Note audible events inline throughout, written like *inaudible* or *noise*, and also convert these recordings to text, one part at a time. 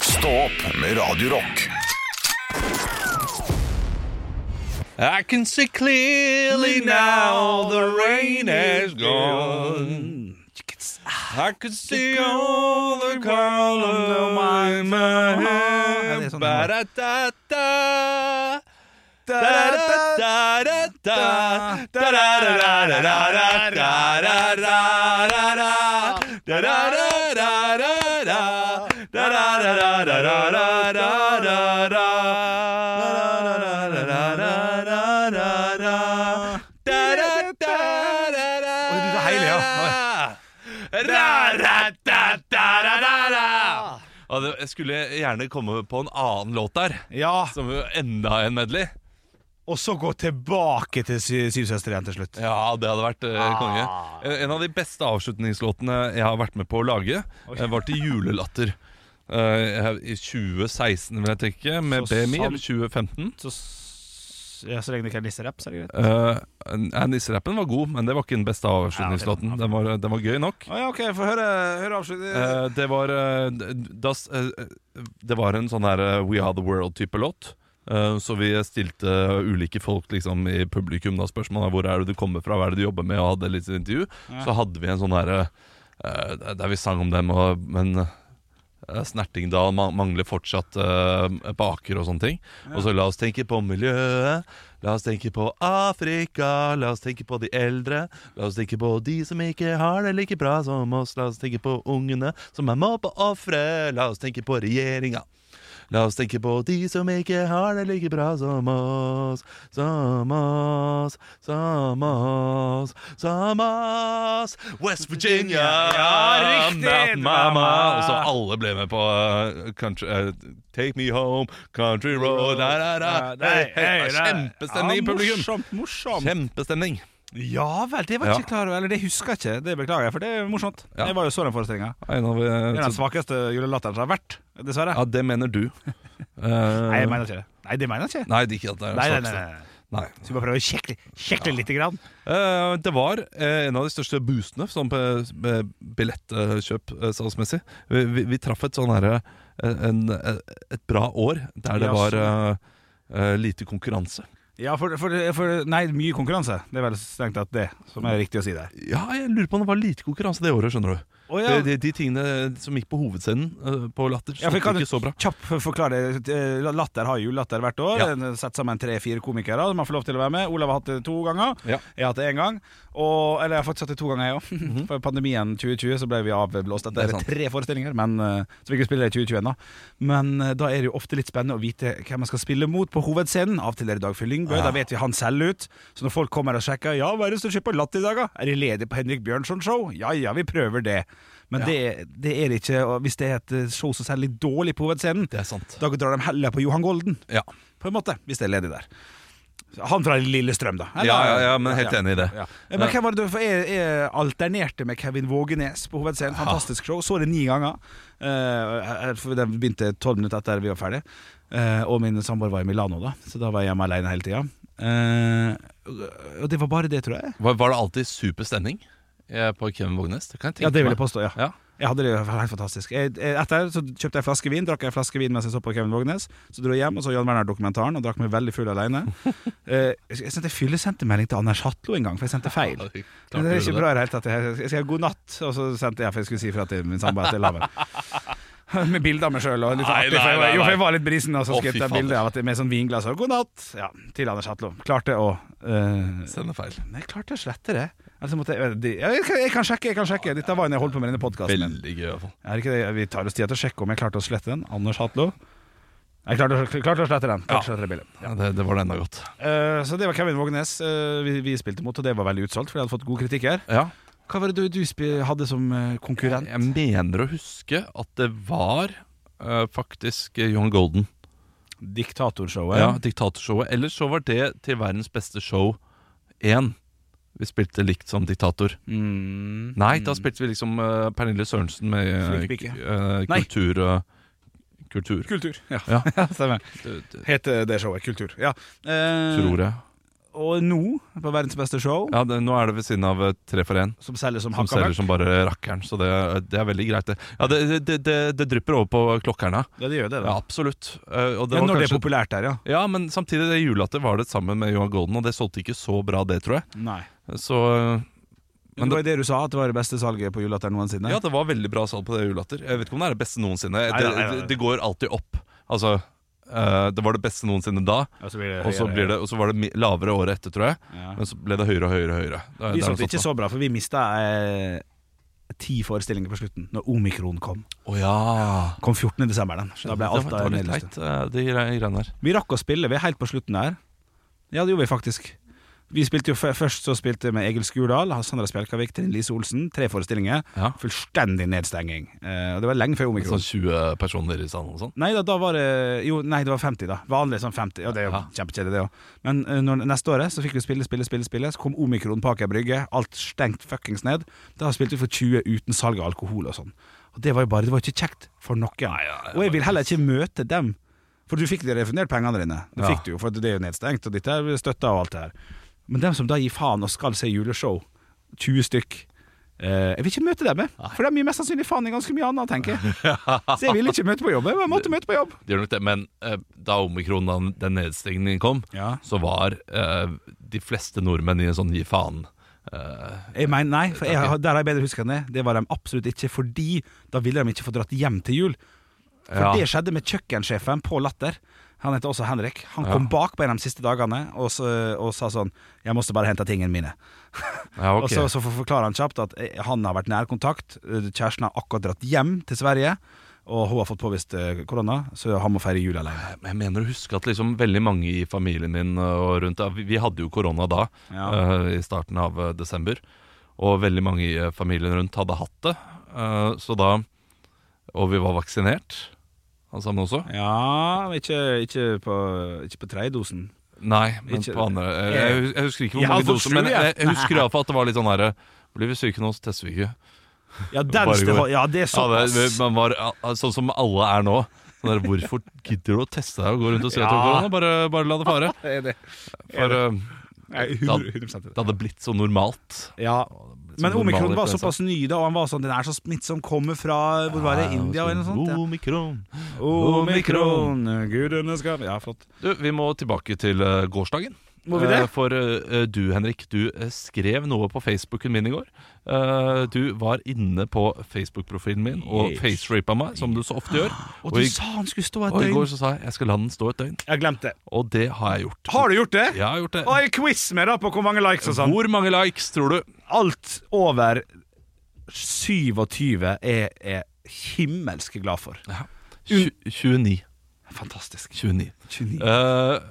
Stå opp med Radio Rock. I can see clearly now the rain has gone. I could see all the color of my Ah, det er mind. sånn Ba-da-da-da. Da-da-da-da-da. Da-da-da-da-da-da-da-da-da-da. Da-da-da-da-da-da. Da-da-da-da-da-da-da. Da-da-da-da-da. Oi, du tar hele, ja. Ra-ra-da-da-da-da-da. Ja, det- Jeg skulle gjerne komme på en annen låt der, Ja, som jo enda en medley. og så gå tilbake til sy Syv søstre igjen til slutt. Ja, det hadde vært eh, Ah. konge. En- En av de beste avslutningslåtene jeg har vært med på å lage, eh, var til julelatter. Eh, I 2016, vil jeg tenke, med Så sånn. BMI. Eller sant. 2015. Så, s- ja, så lenge det ikke er nisserapp, så er det greit. Uh, Nisserappen var god, men det var ikke den beste avslutningslåten. Den var, den var gøy nok. Å ja, OK, få høre, høre avslutningen. Eh, det var eh, da, s- eh, Det var en sånn her eh, We Are The World-type låt. Eh, Så vi stilte ulike folk liksom, i publikum da spørsmål om hvor er det du kommer fra, hva er det du jobber med, og hadde litt intervju. Så hadde vi en sånn herre der vi sang om dem, og, men eh, Snertingdal ma- mangler fortsatt eh, baker og sånne ting. Og så la oss tenke på miljøet, la oss tenke på Afrika, la oss tenke på de eldre, la oss tenke på de som ikke har det like bra som oss, la oss tenke på ungene som er mobbeofre, la oss tenke på regjeringa. La oss tenke på de som ikke har det like bra som oss, som oss, som oss, som oss. West Virginia! Ja, riktig, Mountain Mama! mamma. Og så alle ble med på eh, country, eh, Take Me Home, Country Road da, da, da. Hei, hei, det var Kjempestemning i publikum! Morsomt, morsomt. Kjempestemning. Ja vel, det var jeg Ja. ikke klar over. Eller det husker jeg ikke. Det beklager jeg, for det er morsomt. Ja. Jeg var jo så den forestillinga. En av, Det er eh, den så, svakeste julelatteren som har vært, dessverre. ja, det mener *laughs* du. Eh, Nei, jeg mener ikke det. Nei, det mener jeg ikke. Nei, det er ikke at det er Nei, nei, svakeste. nei, nei. Nei. Så vi bare prøver å kjekle, kjekle lite grann. Eh, det var eh, en av de største boostene sånn på eh, billettkjøp eh, salgsmessig. Vi, vi, vi traff et sånn herre eh, en, eh, et bra år der det Ja, var eh, eh, lite konkurranse. Ja, for, for, for Nei, mye konkurranse. Det er vel strengt tatt det som er riktig å si der. Ja, jeg lurer på om det var lite konkurranse det året, skjønner du. Å ja. De, de, de tingene som gikk på hovedscenen eh, på Latter, Ja, ja, for jeg kan ikke så bra. Kjapp forklare det. Eh, Latter har julelatter hvert år. Ja. Den Setter sammen tre-fire komikere som har fått lov til å være med. Olav har hatt det to ganger. Ja. Jeg har hatt det én gang. Og, eller jeg har faktisk hatt det to ganger, jeg *laughs* òg. For pandemien 2020 så ble vi Mhm. avblåst Det er etter sant. tre forestillinger. Men, eh, så vi kunne spille det i 2021 da. Men eh, da er det jo ofte litt spennende å vite hvem man skal spille mot på hovedscenen. Av og til er det Dagfyr Lyngbø. Da vet vi han selger ut. Så når folk kommer og sjekker Ja, hva er det som skjer på Latter i dag, da? Er de ledige på Henrik Bjørnson-show? Ja ja, vi prøver det. Men det, det er det ikke og hvis det er et eh, show som selger litt dårlig på hovedscenen. Det er sant. Da drar de heller på Johan Golden, Ja, på en måte, hvis det er ledig der. Han fra Lillestrøm, da. ja, ja, ja men helt enig i det. Ja. Men hvem var det du for jeg, jeg alternerte med Kevin Vågenes på Hovedscenen. Fantastisk show. Så det ni ganger. Eh, for den begynte tolv minutter etter vi var ferdig. Eh, og min samboer var i Milano, da så da var jeg hjemme alene hele tida. og det var bare det, tror jeg. Var, var det alltid super stemning eh, på Kevin Vågnes? Det kan jeg tenke Ja, det vil jeg meg. påstå, ja. Ja. Jeg hadde det det var helt fantastisk. Jeg, jeg- etter så kjøpte jeg en flaske vin, drakk jeg en flaske vin mens jeg så på Kevin Vågenes. Så dro jeg hjem og så Jan Werner-dokumentaren og drakk meg veldig full *laughs* alene. Eh, jeg sendte fyllesendtemelding til Anders Hatlo en gang, for jeg sendte feil. Ja, det- Men klart det er du gjorde ikke bra i det hele tatt. Jeg- Jeg skrev god natt, og så sendte jeg for jeg skulle si fra til min samboer at jeg *laughs* la meg. Med bilde av meg sjøl og litt sånn Nei, artig. for jeg nei, var- nei, Jo, for nei. jeg var litt brisen, og så Å, skrev fy jeg fader. bilde av at jeg med sånn vinglass og god natt ja, til Anders Hatlo. Klarte å eh, Sende feil. Nei, jeg klarte å slette det. Altså, måtte jeg, de- ja, jeg, kan, jeg kan sjekke, jeg kan sjekke. Dette var en jeg holdt på med i denne podkasten. Veldig gøy, i hvert fall. Vi tar oss tid til å sjekke om jeg klarte å slette den. Anders Hatlo. Jeg klarte, å- klarte å slette den. Klarte å slette det bildet. Ja, det, det var det enda godt. Eh, så det var Kevin Vågenes eh, vi, vi spilte mot, og det var veldig utsolgt, for jeg hadde fått god kritikk her. Ja. Hva var det du, du spi- hadde som eh, konkurrent? Jeg mener å huske at det var eh, faktisk eh, John Golden. Diktatorshowet. Ja, Diktatorshowet. Ellers så var det til verdens beste show 1. Vi spilte likt som diktator. Mm. Nei, da spilte vi liksom eh, Pernille Sørensen med eh, Flink pike. eh, Nei. kultur. eh, kultur, Kultur. *laughs* Ja, Ja. stemmer. Det- det Het eh, det showet Kultur. Ja. Eh, tror jeg. Og nå, på verdens beste show, Ja, det, nå er det ved siden av eh, Tre for én. som selger som Som hakka selger møkk som bare rakkeren, så det, eh, det er veldig greit, det. Ja, det, det, det, det, det drypper over på klokkerne. Ja, det gjør det, Ja, da. absolutt. Eh, og det Men var når det er kanskje- populært der, ja. Ja, men samtidig, det julelatter var det sammen med Johan Golden, og det solgte ikke så bra, det, tror jeg. Nei. Så eh, Men det var jo det du sa, at det var det beste salget på julatteren noensinne. ja, det var veldig bra salg på det julelatter. Jeg vet ikke om det er det beste noensinne. Nei, Det, nei, nei, nei. det, det går alltid opp. Altså, eh, det var det beste noensinne da, Og så blir det, og så, blir det, og så var det mi- lavere året etter, tror jeg. ja. Men så ble det høyere og høyere og høyere. Det er- Vi det er solgte noe sånt, ikke da. så bra, for vi mista eh, ti forestillinger på slutten Når omikron kom. Å ja. Kom 14. desember den. Da ble alt det var, det var litt nedlagt. leit, eh, de gre- greiene her. Vi rakk å spille, vi er helt på slutten der. Ja, det gjorde vi faktisk. Vi spilte jo f Først så spilte vi med Egil Skurdal, Sandra Spjelkavik, Trine Lise Olsen. Tre forestillinger. Ja. Fullstendig nedstenging. Eh, og det var lenge før omikron. Sånn 20 personer i salen og sånn. Nei da, da var det Jo, nei, det var 50, da. Vanlig sånn 50. Ja, det er jo Ja. kjempekjedelig, det òg. Men eh, når, neste året så fikk vi spille, spille, spille. spille Så kom omikron på Aker Brygge. Alt stengt fuckings ned. Da spilte vi for 20 uten salg av alkohol og sånn. Og det var jo bare Det var ikke kjekt for noen. og jeg vil heller ikke møte dem. For du fikk jo refundert pengene dine. Det Ja. fikk du jo, for det er jo nedstengt, og dette er støtta og alt det her. Men dem som da gir faen og skal se juleshow, 20 stykk eh, Jeg vil ikke møte dem, jeg. For de gir mest sannsynlig faen i ganske mye annet, tenker jeg. Så jeg ville ikke møte på jobb. Jeg bare måtte møte på jobb. Det gjør nok det, men eh, da omikron, da den nedstengningen kom, Ja. så var eh, de fleste nordmenn i en sånn gi faen. eh, Jeg mener, nei, for jeg, har- der har jeg bedre huska enn det. Det var de absolutt ikke, fordi da ville de ikke få dratt hjem til jul. For Ja. det skjedde med kjøkkensjefen på Latter. Han heter også Henrik. Han kom bak på en av de siste dagene og, så, og sa sånn 'Jeg måtte bare hente tingene mine'. ja, ok. Og så, så for- forklarer han kjapt at eh, han har vært nær kontakt. eh, Kjæresten har akkurat dratt hjem til Sverige, og hun har fått påvist eh, korona, så han må feire jul alene. Men Jeg mener å huske at liksom veldig mange i familien min eh, og rundt deg vi- Vi hadde jo korona da, Ja. eh, i starten av eh, desember. Og veldig mange i eh, familien rundt hadde hatt det. eh, så da Og vi var vaksinert, alle sammen også. Ja, men ikke, ikke, på, ikke på tredje dosen. Nei, men Ikke- på andre eh, jeg, hus- jeg husker ikke hvor Jeg mange har fått doser, men sju, jeg, jeg. jeg *laughs* husker iallfall at det var litt sånn herre Blir vi syke nå, så tester vi ikke. Ja, Bare den ste- går. ja det er Ja, det, såpass. men man var, al- sånn som alle er nå. Sånn der, hvorfor gidder du å teste deg og gå rundt og si at du har Ja. korona? Bare, bare la det fare. *laughs* Det er det. For eh, Jeg er 100% det. det hadde blitt så normalt. Ja. Som Men normal omikron var influensa. såpass ny da, og han var sånn Den er så smittsom, kommer fra Hvor var det? India eller noe sånt? altså. Ja. Omikron. Omikron, gudene skal Ja, flott. Du, vi må tilbake til eh, gårsdagen. Må vi det? Eh, for eh, du, Henrik, du eh, skrev noe på Facebooken min i går. Eh, du var inne på Facebook-profilen min og Yes. facerapa meg, som du så ofte gjør. *gasps* Og du i, sa han skulle stå et og i går døgn. så sa jeg jeg skal la den stå et døgn. Jeg glemte det. Og det har jeg gjort. Har du gjort det? Jeg har gjort det. Og jeg quiz med da på hvor mange likes og sånn. Hvor mange likes, tror du? Alt over 27 er jeg himmelsk glad for. Tju- 29. Fantastisk. 29. 29. Eh,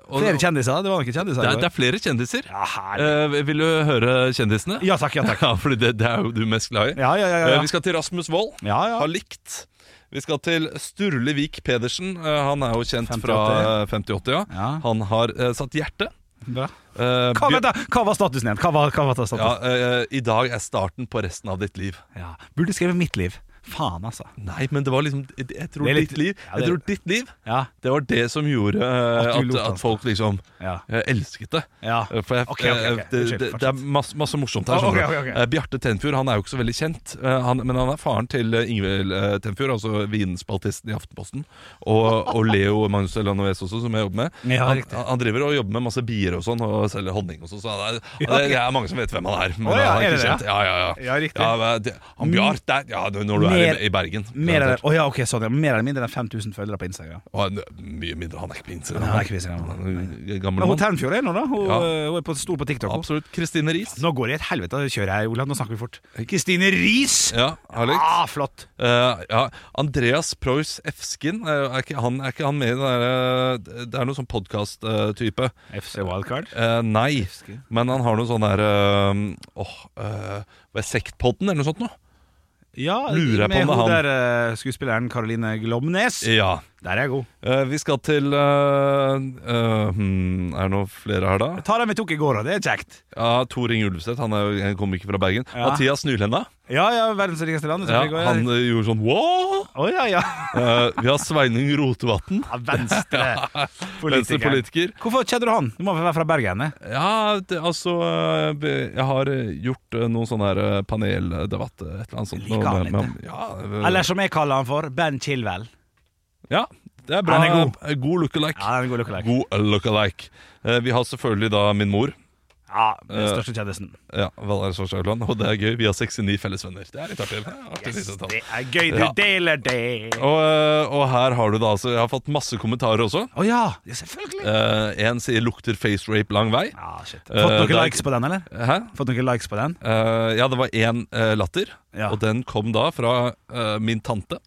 og, Flere det, kjendiser? Det var noen kjendiser? er, i går. det er flere kjendiser. Ja, herlig. Eh, vil du høre kjendisene? Ja takk, ja takk. *laughs* Ja, fordi det, det er jo du mest glad i. Ja, ja, ja. Eh, ja. Vi skal til Rasmus Wold. ja, Har ja. likt. Vi skal til Sturle Vik Pedersen. Eh, Han er jo kjent 58. fra eh, 58, ja. Ja. Han har eh, satt hjerte. Bra. Eh, Hva, Bjør- vent da, hva var statusen igjen? Hva var, hva var statusen? ja, eh, I dag er starten på resten av ditt liv. Ja. Burde skrevet mitt liv. Faen, altså. Nei, men det var liksom Jeg, jeg tror Det er litt- ditt liv ja, Jeg det- tror ditt liv Ja. Det var det som gjorde eh, At du at, lot han at folk liksom Ja. eh, elsket det. ja. Eh, For jeg, Ok, ok, ok. eh, Det, Unnskyld, det, det er fortsett. masse, masse morsomt her. Ah, ok, skjønner du. ok, ok. Eh, Bjarte Tenfjord han er jo ikke så veldig kjent, eh, han, men han er faren til eh, Ingvild eh, Tenfjord, altså vinspaltisten i Aftenposten, og, og Leo Magnus Elanovez også, som jeg jobber med. Ja, han, riktig. han driver og jobber med masse bier og sånn, og selger honning og sånn, så det er, det, det er mange som vet hvem han er. Men Å, ja, han er er det ikke det? kjent. Ja, ja, ja. Ja, riktig. men det, han Bjarte ja, det- Når du Mer- er i, i Bergen. Mer eller, garantert. oh, ja, ok, sånn, ja. Mer eller mindre enn 5000 følgere på Instagram. Og han, mye mindre. Han er ikke på Instagram. Nei, han er ikke på Instagram. Han er en Gammel Men hun mann. Ternfjord er nå, da. Hun, Ja. øh, hun er på, stor på TikTok. hun. Absolutt. Kristine Riis. Nå går det i et helvete. da Kjører jeg, Olav. Nå snakker vi fort. Kristine Riis! Ja, har likt. Ah, flott. Eh, ja, Andreas Preuss Efskin, eh, er, ikke han, er ikke han med i den der, eh, Det er noen sånn podkast-type. FC Wildcard. Eh, nei, Efskin? men han har noe sånn der eh, Åh, eh, hva er Sektpodden eller noe sånt noe? Ja, Lurer jeg på om det med er hun han. der øh, skuespilleren Caroline Glomnes. Ja. Der er jeg god. Eh, vi skal til eh, eh, hmm, Er det noen flere her, da? Ta den vi tok i går, og det er kjekt. Ja, Tor Inge Ulvseth. Han er jo- han kommer ikke fra Bergen. Ja. Mathias Nylenda. Ja, ja, verdens rikeste land. Ja, Ja, han eh, gjorde sånn wow! Å ja, ja. *laughs* Eh, vi har Sveinung Rotevatn. Ja, *laughs* Venstre politiker. Venstrepolitiker. Hvorfor kjenner du han? Du må vel være fra Bergen? eh? Ja, det, altså eh, be- Jeg har eh, gjort eh, noen sånn her eh, paneldebatt, eh, et eller annet sånt. Liker noe han med- litt, med- ja, eh, Eller som jeg kaller han for, Ben Chilwell. ja, det er bra. Han er god. Eh, god look-alike. Ja, den er god lookalike. God look-alike. Eh, vi har selvfølgelig da min mor. Ja, den største kjendisen. Ja, Valerie Svartshaugland. Og det er gøy. Vi har 69 fellesvenner. Det er litt artig. Det er artig lite tall. Det er gøy, du Ja. deler det. Å Og, eh, og her har du det, altså. Jeg har fått masse kommentarer også. ja, ja, selvfølgelig. Eh, en sier 'lukter face rape lang vei'. Ja, shit. Eh, Fått det noen er- likes på den, eller? Hæ? Fått noen likes på den? Eh, ja, det var én eh, latter, Ja. og den kom da fra eh, min tante.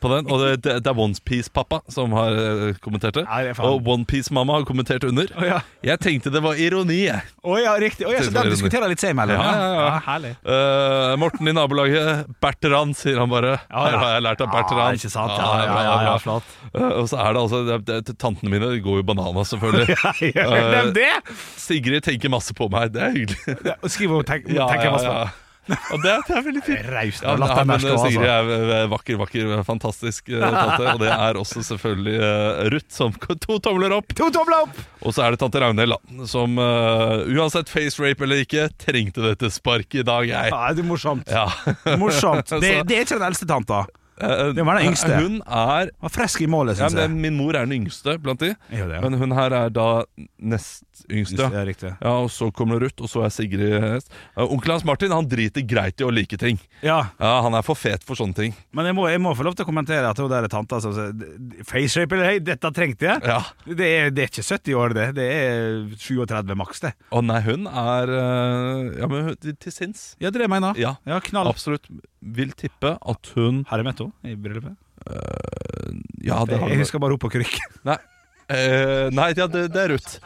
På den, og det, det, det er OnePiece-pappa som har eh, kommentert det. Ja, det er faen. og OnePiece-mamma har kommentert under. Å ja. Jeg tenkte det var ironi, jeg. Å ja, riktig. Å ja, så den diskuterer litt seg imellom. Ja, ja, ja. herlig. Eh, Morten i nabolaget, Bertrand, sier han bare. Ja, ja. Her har jeg lært av Bertrand. Ja, ikke sant? Ja, det er ja, bra, ja, det er ja, bra. flott. *laughs* Eh, og så er det altså det, det, Tantene mine de går jo bananas, *laughs* selvfølgelig. Gjør de det? Sigrid tenker masse på meg, det er hyggelig. Og Skriv og tenk, *laughs* tenker masse på. ja. Og det, det er veldig fint. Raust. Ja, La nei, den men der stå, altså. Sigrid er eh, vakker, vakker, fantastisk eh, tante. Og det er også selvfølgelig eh, Ruth, som to tomler opp. To tomler opp! Og så er det tante Ragnhild, da, som eh, uansett face rape eller ikke, trengte dette sparket i dag, jeg. Ja, det er morsomt. Ja. *laughs* Morsomt. Det, Så- det er ikke den eldste tanta. Eh, Det var den yngste. Hun er Var frisk i målet, ja, syns jeg. men Min mor er den yngste blant de, Er jo det, ja. men hun her er da nest yngste. Ja, riktig. Ja, og så kommer Ruth, og så er Sigrid hest. Eh, Onkelen hans Martin han driter greit i å like ting. Ja, Ja, Han er for fet for sånne ting. men jeg må, jeg må få lov til å kommentere at hun der tanta som sier Faceshape eller hei, dette trengte jeg. Ja, Det er, det er ikke 70 år, det. Det er 37 maks, det. Å nei, hun er eh, Ja, men hun, til sinns. Ja, det er det jeg mener. Ja, Ja, knall. absolutt. Vil tippe at hun Har jeg møtt henne i bryllupet? Ja, det har Jeg hun. husker bare hun på krykken. Nei, Eh, nei ja, det, det er Ruth.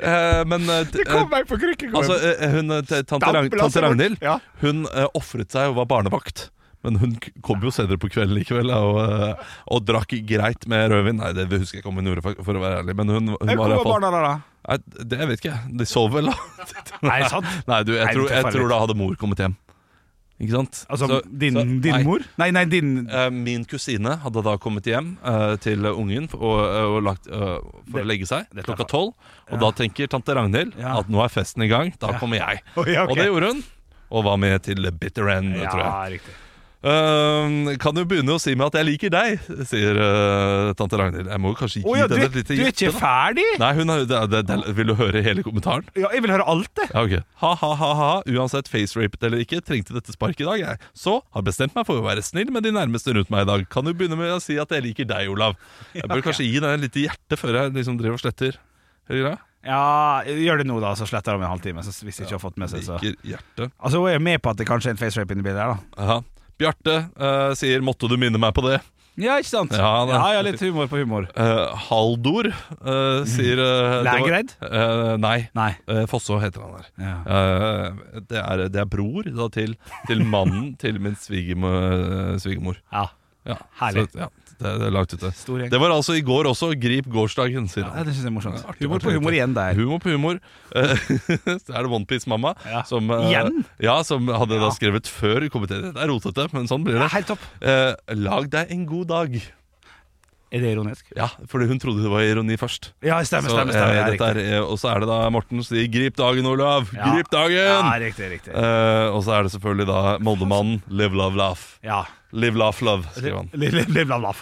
Eh, men eh, d- eh, meg på krykken! altså, eh, hun, eh, t- tante, Ragn tante Ragnhild Ja. Hun eh, offret seg og var barnevakt. Men hun k- kom jo senere på kvelden likevel og, eh, og drakk greit med rødvin. Nei, det husker jeg ikke om hun gjorde, for, for å være ærlig. Men hun, hun Hvor var i var hvert fall barna da? da? Nei, Det jeg vet ikke jeg. De sov vel, da? Nei, sant? Nei, du, Nei, jeg, du tror, treffer jeg tror litt. da hadde mor kommet hjem. Ikke sant? Altså, Så- din, så- din nei. mor? Nei, nei, din Eh, Min kusine hadde da kommet hjem eh, til ungen f- og, og lagt, eh, for Det- å legge seg dette er klokka fa- tolv. Og da tenker tante Ragnhild Ja. at nå er festen i gang, da kommer jeg. Å, ja, *laughs* ok. Og det gjorde hun. Og var med til the bitter end, Ja, tror jeg. riktig. Ehm, kan jo begynne å si meg at jeg liker deg, sier eh, tante Ragnhild. Jeg må jo kanskje gi Å ja, du, den et du lite er hjerte, ikke da. ferdig? Nei, hun er, det, det, det, Vil du høre hele kommentaren? Ja, jeg vil høre alt, det. Ja, ok. Ha-ha-ha-ha. Uansett facerapet eller ikke, trengte dette sparket i dag, jeg. Så har bestemt meg for å være snill med de nærmeste rundt meg i dag. Kan du begynne med å si at jeg liker deg, Olav? Jeg bør kanskje gi deg et lite hjerte før jeg liksom driver og sletter. Eller greia? Ja, gjør det nå, da, så sletter jeg om en halvtime. Så hvis jeg ikke har fått med seg, så Liker hjerte. Altså, Hun er med på at det kanskje er en facerape inni bildet her, da. Aha. Bjarte eh, sier 'måtte du minne meg på det'. Ja, ikke sant? Ja, det- ja, ja litt humor på humor. Eh, Haldor eh, sier uh, Lægreid? nei. Nei. Uh, Fosså heter han der. Ja. Eh, det, er, det er bror da, til, til mannen til min svigermo- svigermor. ja. Ja, Herlig. Så, ja, det, det er langt ute. Stor gjeng. Det var altså i går også. Grip gårsdagen, sier Ja, han. det syns jeg er morsomt. Ja, artig, humor på artig, humor artig. igjen der. Humor på humor. *laughs* Eh, Så er det OnePiece-mamma Ja. som, eh, Igjen? ja, som hadde da Ja. skrevet før komiteen. Det er rotete, men sånn blir Ja, det. helt topp. Eh, lag deg en god dag. Er det ironisk? Ja, fordi hun trodde det var ironi først. Ja, stemmer, Så, stemmer. eh, stemmer. Ja, dette riktig. er, eh, og så er det da Morten som sier 'grip dagen, Olav'. Ja. Grip dagen! Ja, riktig, riktig. Eh, og så er det selvfølgelig da Moldemannen. Live, love, laugh. Ja. Live, laugh, love, skriver han. Liv-lav-lav.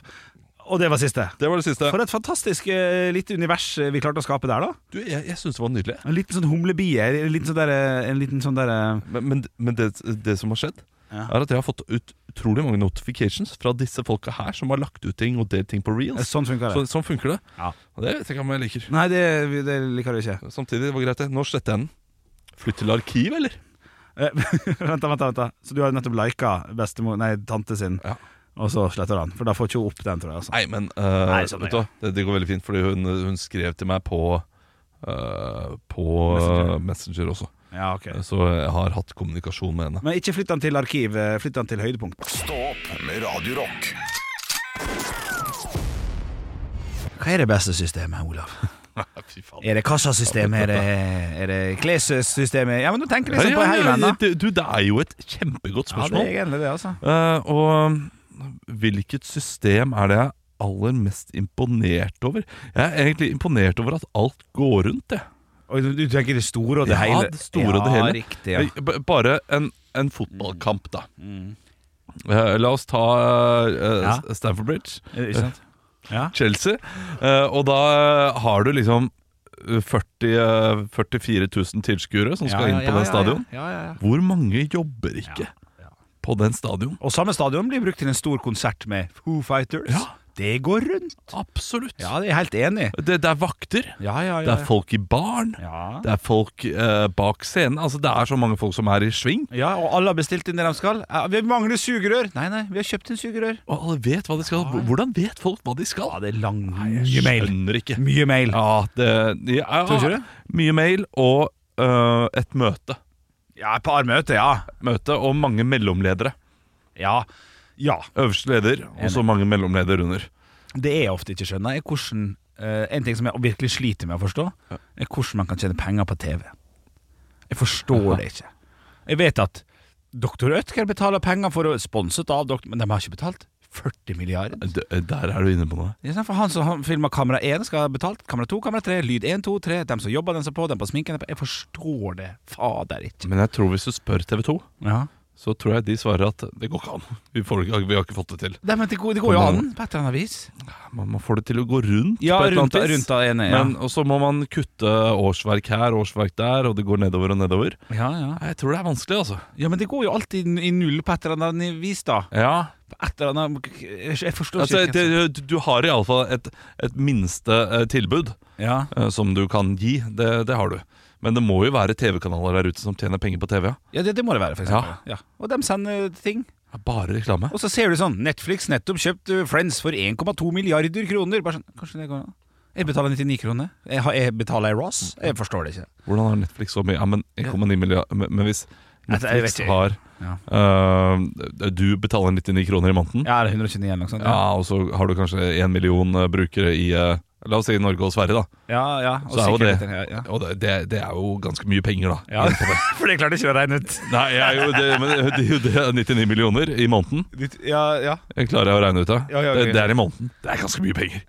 Og det var siste. Det var det siste. For et fantastisk eh, lite univers eh, vi klarte å skape der, da. Du, jeg, jeg syns det var nydelig. En liten sånn humlebie. En liten sånn der, eh, en liten sånn der eh, Men, men, men det, det som har skjedd, Ja. er at jeg har fått ut utrolig mange notifications fra disse folka her som har lagt ut ting og delt ting på reels. Sånn funker det. Så, sånn funker det. Ja. Og det vet jeg ikke om jeg liker. Nei, det, det liker du ikke. Samtidig, det var greit det. Nå sletter jeg den. Flytt til arkiv, eller? Eh, *laughs* vent, da, vent, da, vent. da. Så du har nettopp lika bestemor, nei, tante sin, Ja. og så sletter du den? For da får ikke hun opp den, tror jeg. Altså. Nei, men eh, Nei, sånn vet du hva? det, det går veldig fint, fordi hun, hun skrev til meg på eh, på Messenger. Messenger. Messenger også. Ja, ok Så jeg har hatt kommunikasjon med henne. Men ikke flytt den til arkiv, eh, flytt den til høydepunkt. Stå opp med Radio Rock. Hva er det beste systemet, Olav? Fy faen. *laughs* Er det kassasystemet? Er det, er det klessystemet? Ja, men du tenker liksom på Ja, ja, ja, heimen, da. det- du, det er jo et kjempegodt Ja, det spørsmål. er egentlig det, altså. Eh, og hvilket system er det jeg er aller mest imponert over? Jeg er egentlig imponert over at alt går rundt, jeg. Og du, du tenker det store og det Ja, hele? det store og det hele. Ja, riktig, ja. Eh, b- Bare en, en fotballkamp, da. Mm. Eh, la oss ta eh, Ja. S- Stamford Bridge, Er det Ikke sant? Ja. Chelsea. Eh, og da har du liksom eh, 40, eh, 44 000 tilskuere som skal Ja, ja, inn på ja, den ja, stadion. Ja, ja, ja. Hvor mange jobber ikke Ja, ja. på den stadion? Og samme stadion blir brukt til en stor konsert med Foo Fighters. Ja. Det går rundt. Absolutt. Ja, det er jeg helt enig i. Det, det er vakter, Ja, ja, det er folk i baren, ja. det er folk eh, bak scenen. Altså, det er så mange folk som er i sving, ja, og alle har bestilt inn det de skal. Ja, vi mangler sugerør. Nei, nei, vi har kjøpt inn sugerør. og alle vet hva de skal. Hvordan vet folk hva de skal? Ja, det er lang Jeg Mye mail. skjønner ikke. Mye mail. Ja, det, ja, Tror du ikke det? Mye mail og eh, et møte. Ja, et par møter, ja. Møte og mange mellomledere. Ja. Ja. Øverste leder, og så Enig. mange mellomledere under. Det jeg ofte ikke skjønner, er hvordan eh, En ting som jeg virkelig sliter med å forstå, er hvordan man kan tjene penger på TV. Jeg forstår det ikke. Jeg vet at Dr. Ødker betaler penger for å sponset av Dr. Men de har ikke betalt 40 milliarder. D der er du inne på noe. Det er sånn, For han som filma Kamera 1, skal ha betalt. Kamera 2, Kamera 3, Lyd 1, 2, 3. Dem som jobber, dem som er på, dem på sminken dem på. Jeg forstår det fader ikke. Men jeg tror hvis du spør TV 2, Ja. så tror jeg de svarer at det går ikke an. Vi, får, det ikke- vi har ikke fått det til. Nei, men det går, det går jo Kommer- an, på et eller annet vis. Man, man får det til å gå rundt på et eller annet vis. da enig. Men, og så må man kutte årsverk her, årsverk der, og det går nedover og nedover. ja, ja. Nei, Jeg tror det er vanskelig, altså. Ja, men det går jo alltid i null på et eller annet vis, da. Ja. På et eller annet Jeg forstår Altså, ikke. hvem det, du har iallfall et, et minste eh, tilbud som- sånn. ja. eh, som du kan gi. Det, det har du. Men det må jo være TV-kanaler der ute som tjener penger på TV. Ja. ja, det, det må det være, for eksempel. Ja. Og de sender ting. Ja, Bare reklame. Og så ser du sånn Netflix nettopp kjøpt uh, Friends for 1,2 milliarder kroner. Bare sånn, kanskje det går an? Jeg betaler 99 kroner. Jeg, har- jeg betaler jeg Ross? Jeg forstår det ikke. Hvordan har Netflix så mye? Ja, men 1,9 milliarder men, men hvis Nei, det- jeg Netflix vet ikke. har Ja. øh, Du betaler 99 kroner i måneden, ja. Ja, det er 129 eller noe sånt. Ja, og så har du kanskje 1 million øh, brukere i øh, La oss si Norge og Sverige, da. ja. ja. Og Så er jo sikkert- det- Ja, *laughs* ja. Og det, det, det er jo ganske mye penger, da. Ja, for det klarte jeg ikke å regne ut. *laughs* Nei, jeg, er jo, det, men det, er jo det 99 millioner i måneden Ditt- Ja, ja. jeg klarer jeg å regne ut det. Ja, ja, ok. det. Det er i måneden. Det er ganske mye penger.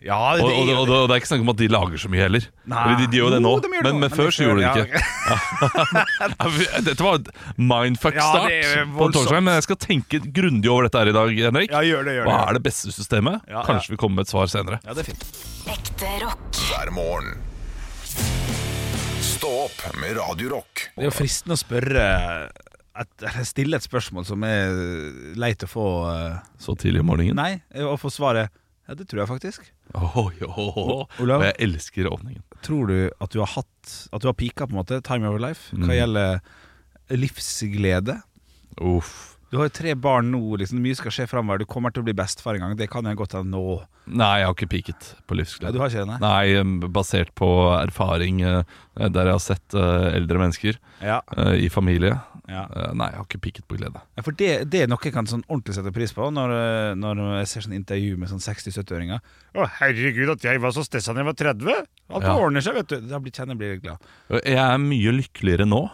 ja Og, og, og, og, det er ikke snakk om at de lager så mye heller. Eller de, de gjør jo det nå, Jo, de gjør men, nå, men før så gjorde de ja, ikke. ok. Ja, vi- Dette var et mindfuck Ja, start det er på en voldsomt. torsdag, men jeg skal tenke grundig over dette her i dag, Henrik. Ja, gjør det, gjør det. Hva er det beste systemet? Ja, ja. Kanskje vi kommer med et svar senere. Ja, det er fint. Ekte rock. hver morgen. Stå opp med Radio Rock. Det er jo fristende å spørre et, eller Stille et spørsmål som er leit å få eh, Så tidlig om morgenen. Nei, å få svaret Ja, det tror jeg faktisk. Åh, jo, ho, ho. Olav? Og jeg elsker åpningen. Tror du at du har hatt At du har pika, på en måte, time of your life, hva Mm. gjelder livsglede? Uff. Du har jo tre barn nå, liksom, mye skal skje framover. Du kommer til å bli bestefar en gang. Det kan jeg godt hende nå. Nei, jeg har ikke piket på Ja, du livsglede. har ikke det, nei? *laughs* Nei, em, basert på erfaring eh, der jeg har sett eh, eldre mennesker Ja, eh, i familie. ja. Eh, Nei, jeg har ikke piket på glede. Ja, For det, det er noe jeg kan sånn ordentlig sette pris på når, eh, når jeg ser sånn intervju med sånn 60-70-åringer. 'Å, herregud, at jeg var så stressa da jeg var 30!' Alt Ja. ordner seg, vet du. Da blir, kjenner jeg blir glad. Jeg er mye lykkeligere nå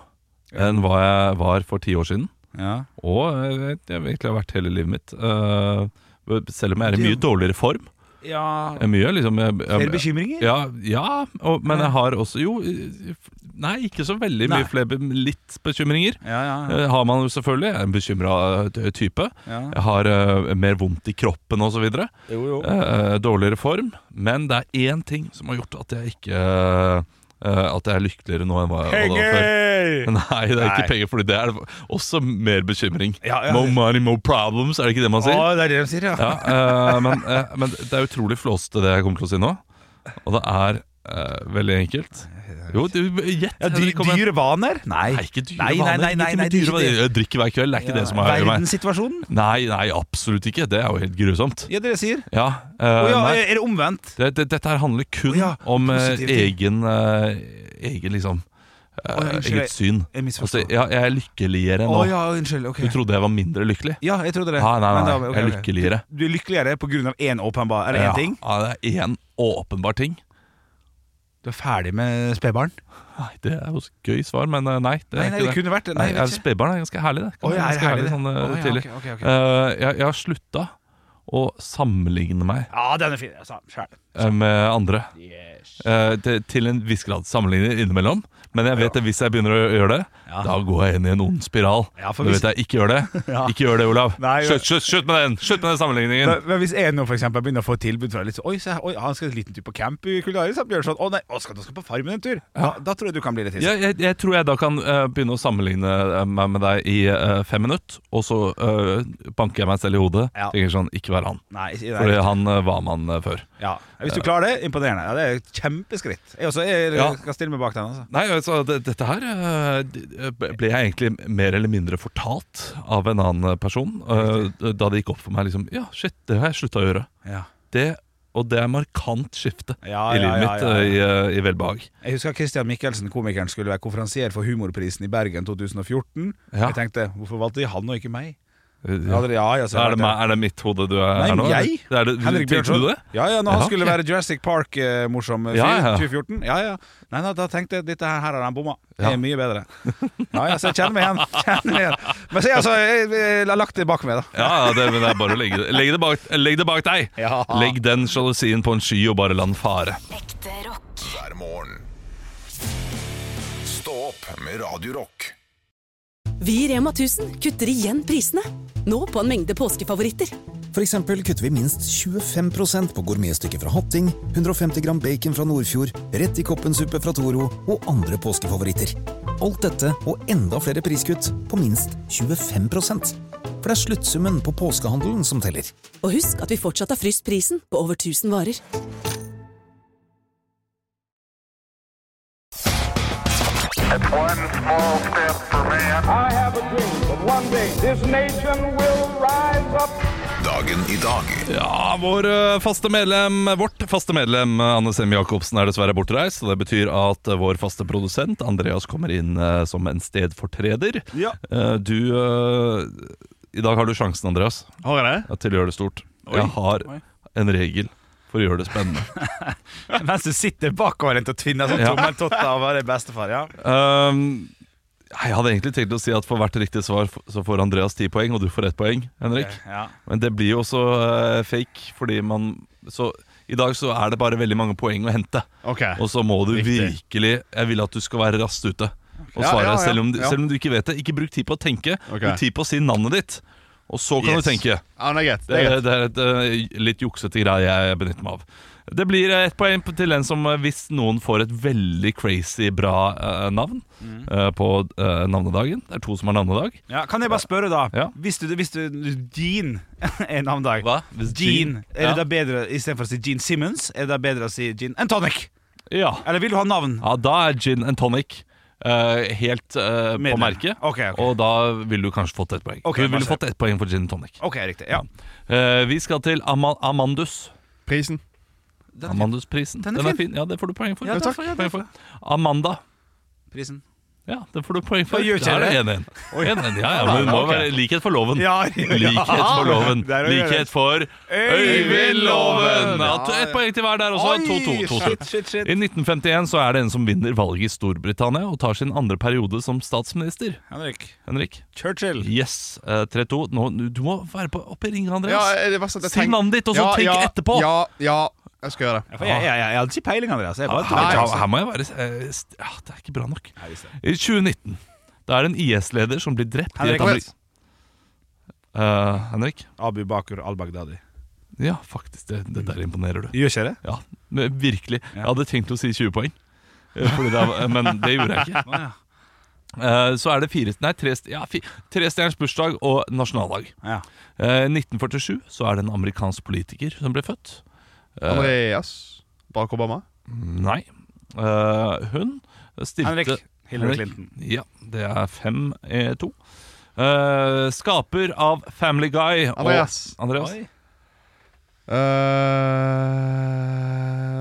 enn hva jeg var for ti år siden. Ja. Og eh, jeg vet- jeg har egentlig vært hele livet mitt. Eh, selv om jeg er i mye Det- dårligere form. ja. Jeg er mye, liksom, jeg, Flere jeg, bekymringer? ja, ja og, men jeg har også Jo, eh, nei, ikke så veldig Nei. mye flere be- Litt bekymringer Ja, ja, eh, har man jo selvfølgelig. Jeg er en bekymra type. ja. Eh, Jeg har eh, mer vondt i kroppen osv. Jo, jo. Uh, dårligere form. Men det er én ting som har gjort at jeg ikke eh, At jeg er lykkeligere nå enn hva jeg var før. Nei, det er Nei. ikke penger, Fordi det er også mer bekymring. Ja, ja. More money, more problems, er det ikke det man Å, sier? det er det de sier, ja. Ja, eh, men, eh, men det er utrolig flåsete, det jeg kommer til å si nå. Og det er eh, veldig enkelt. Jo, du, gjett. Ja, dy, Henrik, kom igjen. dyre vaner? Nei. Nei, ikke dyre Nei, nei, vaner. nei, Ikke nei, nei, med det er dyre ikke det. vaner. Jeg drikker hver kveld, det er ikke det som er meg. Eh, Verdenssituasjonen? Nei, nei, absolutt ikke. Det er jo helt grusomt. Ja, det er det de sier. Ja, eh, Å ja, nei. er det omvendt? Det, det, dette her handler kun Å ja, om eh, positive ting. egen, eh, egen liksom eh, Å, ja, unnskyld, jeg- eget syn. Jeg Altså, misforstår. Å ja, jeg er lykkeligere nå. ja, unnskyld. Ok. Du trodde jeg var mindre lykkelig? Ja, jeg trodde det. Ah, nei, Men nei, da- nei, ok, jeg er ok. lykkeligere. Du er lykkeligere pga. én åpenbar Er det én Ja, ting? Ja, det er én åpenbar ting. Du er ferdig med spedbarn? Nei, det er jo et gøy svar, men eh, nei. Det er Nei, nei, det ikke det. kunne vært det. Nei, Nei, jeg ja, vet ikke. Spedbarn er ganske herlig, det. Å, ja, er det ganske herlig, herlig, det? sånn eh, Å, ja, tidlig. ok, ok, ok. Eh, jeg, jeg har slutta å sammenligne meg Ja, den er fin. Jeg sa den selv. eh, med andre. Yes. Eh, til, til en viss grad sammenligner innimellom, men jeg vet at hvis jeg begynner å gjøre det, Ja. da går jeg inn i en ond spiral. Ja, for du hvis- vet jeg ikke gjør det. *laughs* Ja. Ikke gjør det, Olav. Nei, jeg- slutt, slutt, slutt med den Slutt med den sammenligningen. Men, men hvis jeg nå for eksempel begynner å få tilbud fra litt så, Oi, se her, oi, han skal en liten tur på camp i Kulinaris. Bjørn sånn Å nei, å, skal, nå skal på Farmen en tur. Da, da tror jeg du kan bli litt hissig. Jeg, jeg, jeg tror jeg da kan eh, begynne å sammenligne eh, meg med deg i eh, fem minutter, og så eh, banker jeg meg selv i hodet. Ja. Tenker sånn, ikke vær han. Nei, ikke- Fordi nei. han eh, var man eh, før. Ja. Hvis du klarer det, imponerende. Ja, det er et kjempeskritt. Jeg også jeg, Ja. skal stille meg bak den. altså Nei, altså, det, dette her eh, d- ble jeg egentlig mer eller mindre fortalt av en annen person. eh, da det gikk opp for meg liksom Ja, shit, det har jeg slutta å gjøre. Ja. Det, og det er markant skifte Ja, i ja, livet ja, mitt ja, ja. eh, I, eh, i velbehag. Jeg husker Christian Michelsen, komikeren, skulle være konferansier for Humorprisen i Bergen 2014. Ja. Jeg tenkte hvorfor valgte de han og ikke meg? Ja, Ja. dere- ja, ja, så jeg Er, det, vet meg- er det mitt hode du er Nei, her nå? jeg? eller? Er det, Henrik tenkte du Bjørnson. det? Ja, ja, når han Ja, skulle ok. være Jurassic Park-morsom eh, fyr, Ja, ja. 2014. Ja, ja. Nei, nei, da tenkte jeg dette her, her har han bomma. Det Ja. er mye bedre. Ja, ja, så jeg kjenner meg igjen. *laughs* Kjenner meg igjen. Men så jeg, altså, jeg, jeg har lagt det bak meg, da. Ja, ja, det, men det er bare å legge det Legg det bak, legg det bak deg! Ja. Legg den sjalusien på en sky og bare la den fare. Ekte rock. hver morgen. Stå opp med Radio Rock. Vi i Rema 1000 kutter igjen prisene. Nå på en mengde påskefavoritter. For eksempel kutter vi minst 25 på gourmetstykket fra Hatting, 150 gram bacon fra Nordfjord, rett i koppensuppe fra Toro og andre påskefavoritter. Alt dette og enda flere priskutt på minst 25 For det er sluttsummen på påskehandelen som teller. Og husk at vi fortsatt har fryst prisen på over 1000 varer. One small step for man. I have a dream that one day this nation will rise up. Dagen i dag. Ja, vår ø, faste medlem, vårt faste medlem ø, Anne Sem Jacobsen er dessverre bortreist. Og det betyr at ø, vår faste produsent Andreas kommer inn ø, som en stedfortreder. Ja. Eh, Du ø, I dag har du sjansen, Andreas, Har jeg ja, til å gjøre det stort. Jeg har Oi. en regel for å gjøre det *laughs* spennende. det? Mens du sitter bakoverlent og tvinner sånn Ja. tommeltott av å være bestefar, ja. Um, jeg hadde egentlig tenkt å si at for hvert riktig svar f- så får Andreas ti poeng, og du får ett poeng, Henrik. ja. Men det blir jo også eh, fake, fordi man Så i dag så er det bare veldig mange poeng å hente. Og så må du Riktig. virkelig Jeg vil at du skal være raskt ute. Og Ja, svare ja, ja, Selv, om, ja. selv om du ikke vet det. Ikke bruk tid på å tenke, Ok. bruk tid på å si navnet ditt. Og så kan Yes. du tenke. Ja, men det er greit. Det, det er et eh, litt juksete greie jeg benytter meg av. Det blir eh, ett poeng til den som eh, hvis noen får et veldig crazy bra eh, navn Mm. eh, på eh, navnedagen. Det er to som har navnedag. Ja, kan jeg bare spørre, da? Ja. Hvis du, hvis du Jean *laughs* er navnedag Hva? Hvis Jean, Jean- er det Ja. da bedre Istedenfor å si Jean Simmons, er det da bedre å si Jean and tonic? Ja, Eller vil du ha navn? ja da er gin and tonic eh, helt eh, på Medlem. merket. Ok, ok. Og da ville du kanskje fått ett poeng. Ok, du bare ville se. fått ett poeng for gin and tonic. OK, riktig. Ja. Eh, vi skal til Ama Amandus. Prisen. Den er fin. Amandusprisen. Den Den, er er fin. fin. Ja, det får du poeng for. Ja, Den takk. får jeg poeng for. Amanda. Prisen. Ja, den får du poeng for. Da gjør ikke Der jeg er det 1-1. 1-1, Ja, ja, men det må ok. være likhet for loven. Ja, ja. Likhet for loven. Det er å gjøre. Likhet for Øyvind Loven! Ja, Ja, ja. Ett poeng til hver der også. Oi, 2-2. shit, shit, 2-2. I shit. 1951 så er det en som vinner valget i Storbritannia og tar sin andre periode som statsminister. Henrik. Henrik. Churchill. Yes, eh, 3-2. Nå, du må være på, oppe i ringen, Ja, Andreas. det var sånn at Si jeg tenk- navnet ditt, og så tenk etterpå. Ja, ja, jeg skal gjøre det. Ja, for jeg, jeg, jeg, jeg hadde ikke peiling, Andreas. Jeg bare Ah, tar her, altså. her må jeg være eh, st- ja, Det er ikke bra nok. Nei, visst det. I 2019 Det er en IS-leder som blir drept Henrik i et West. amerik- Eh, Henrik? Abu Bakur al-Baghdadi. Ja, faktisk. Det, det der imponerer du. Gjør ikke det? Ja, men Virkelig. Jeg Ja. hadde tenkt å si 20 poeng, eh, fordi det er, men det gjorde jeg ikke. Å, Eh, så er det fire, nei, tre, st- ja, fi- trestjerners bursdag og nasjonaldag. ja. ja. Eh, 1947 så er det en amerikansk politiker som ble født. Eh, Andreas. Barack Obama. Nei. Eh, hun stilte Henrik. Henrik. Hillary Clinton. Ja, det er 5-2. Eh, skaper av Family Guy og- Andreas. Andreas. Eh, eh,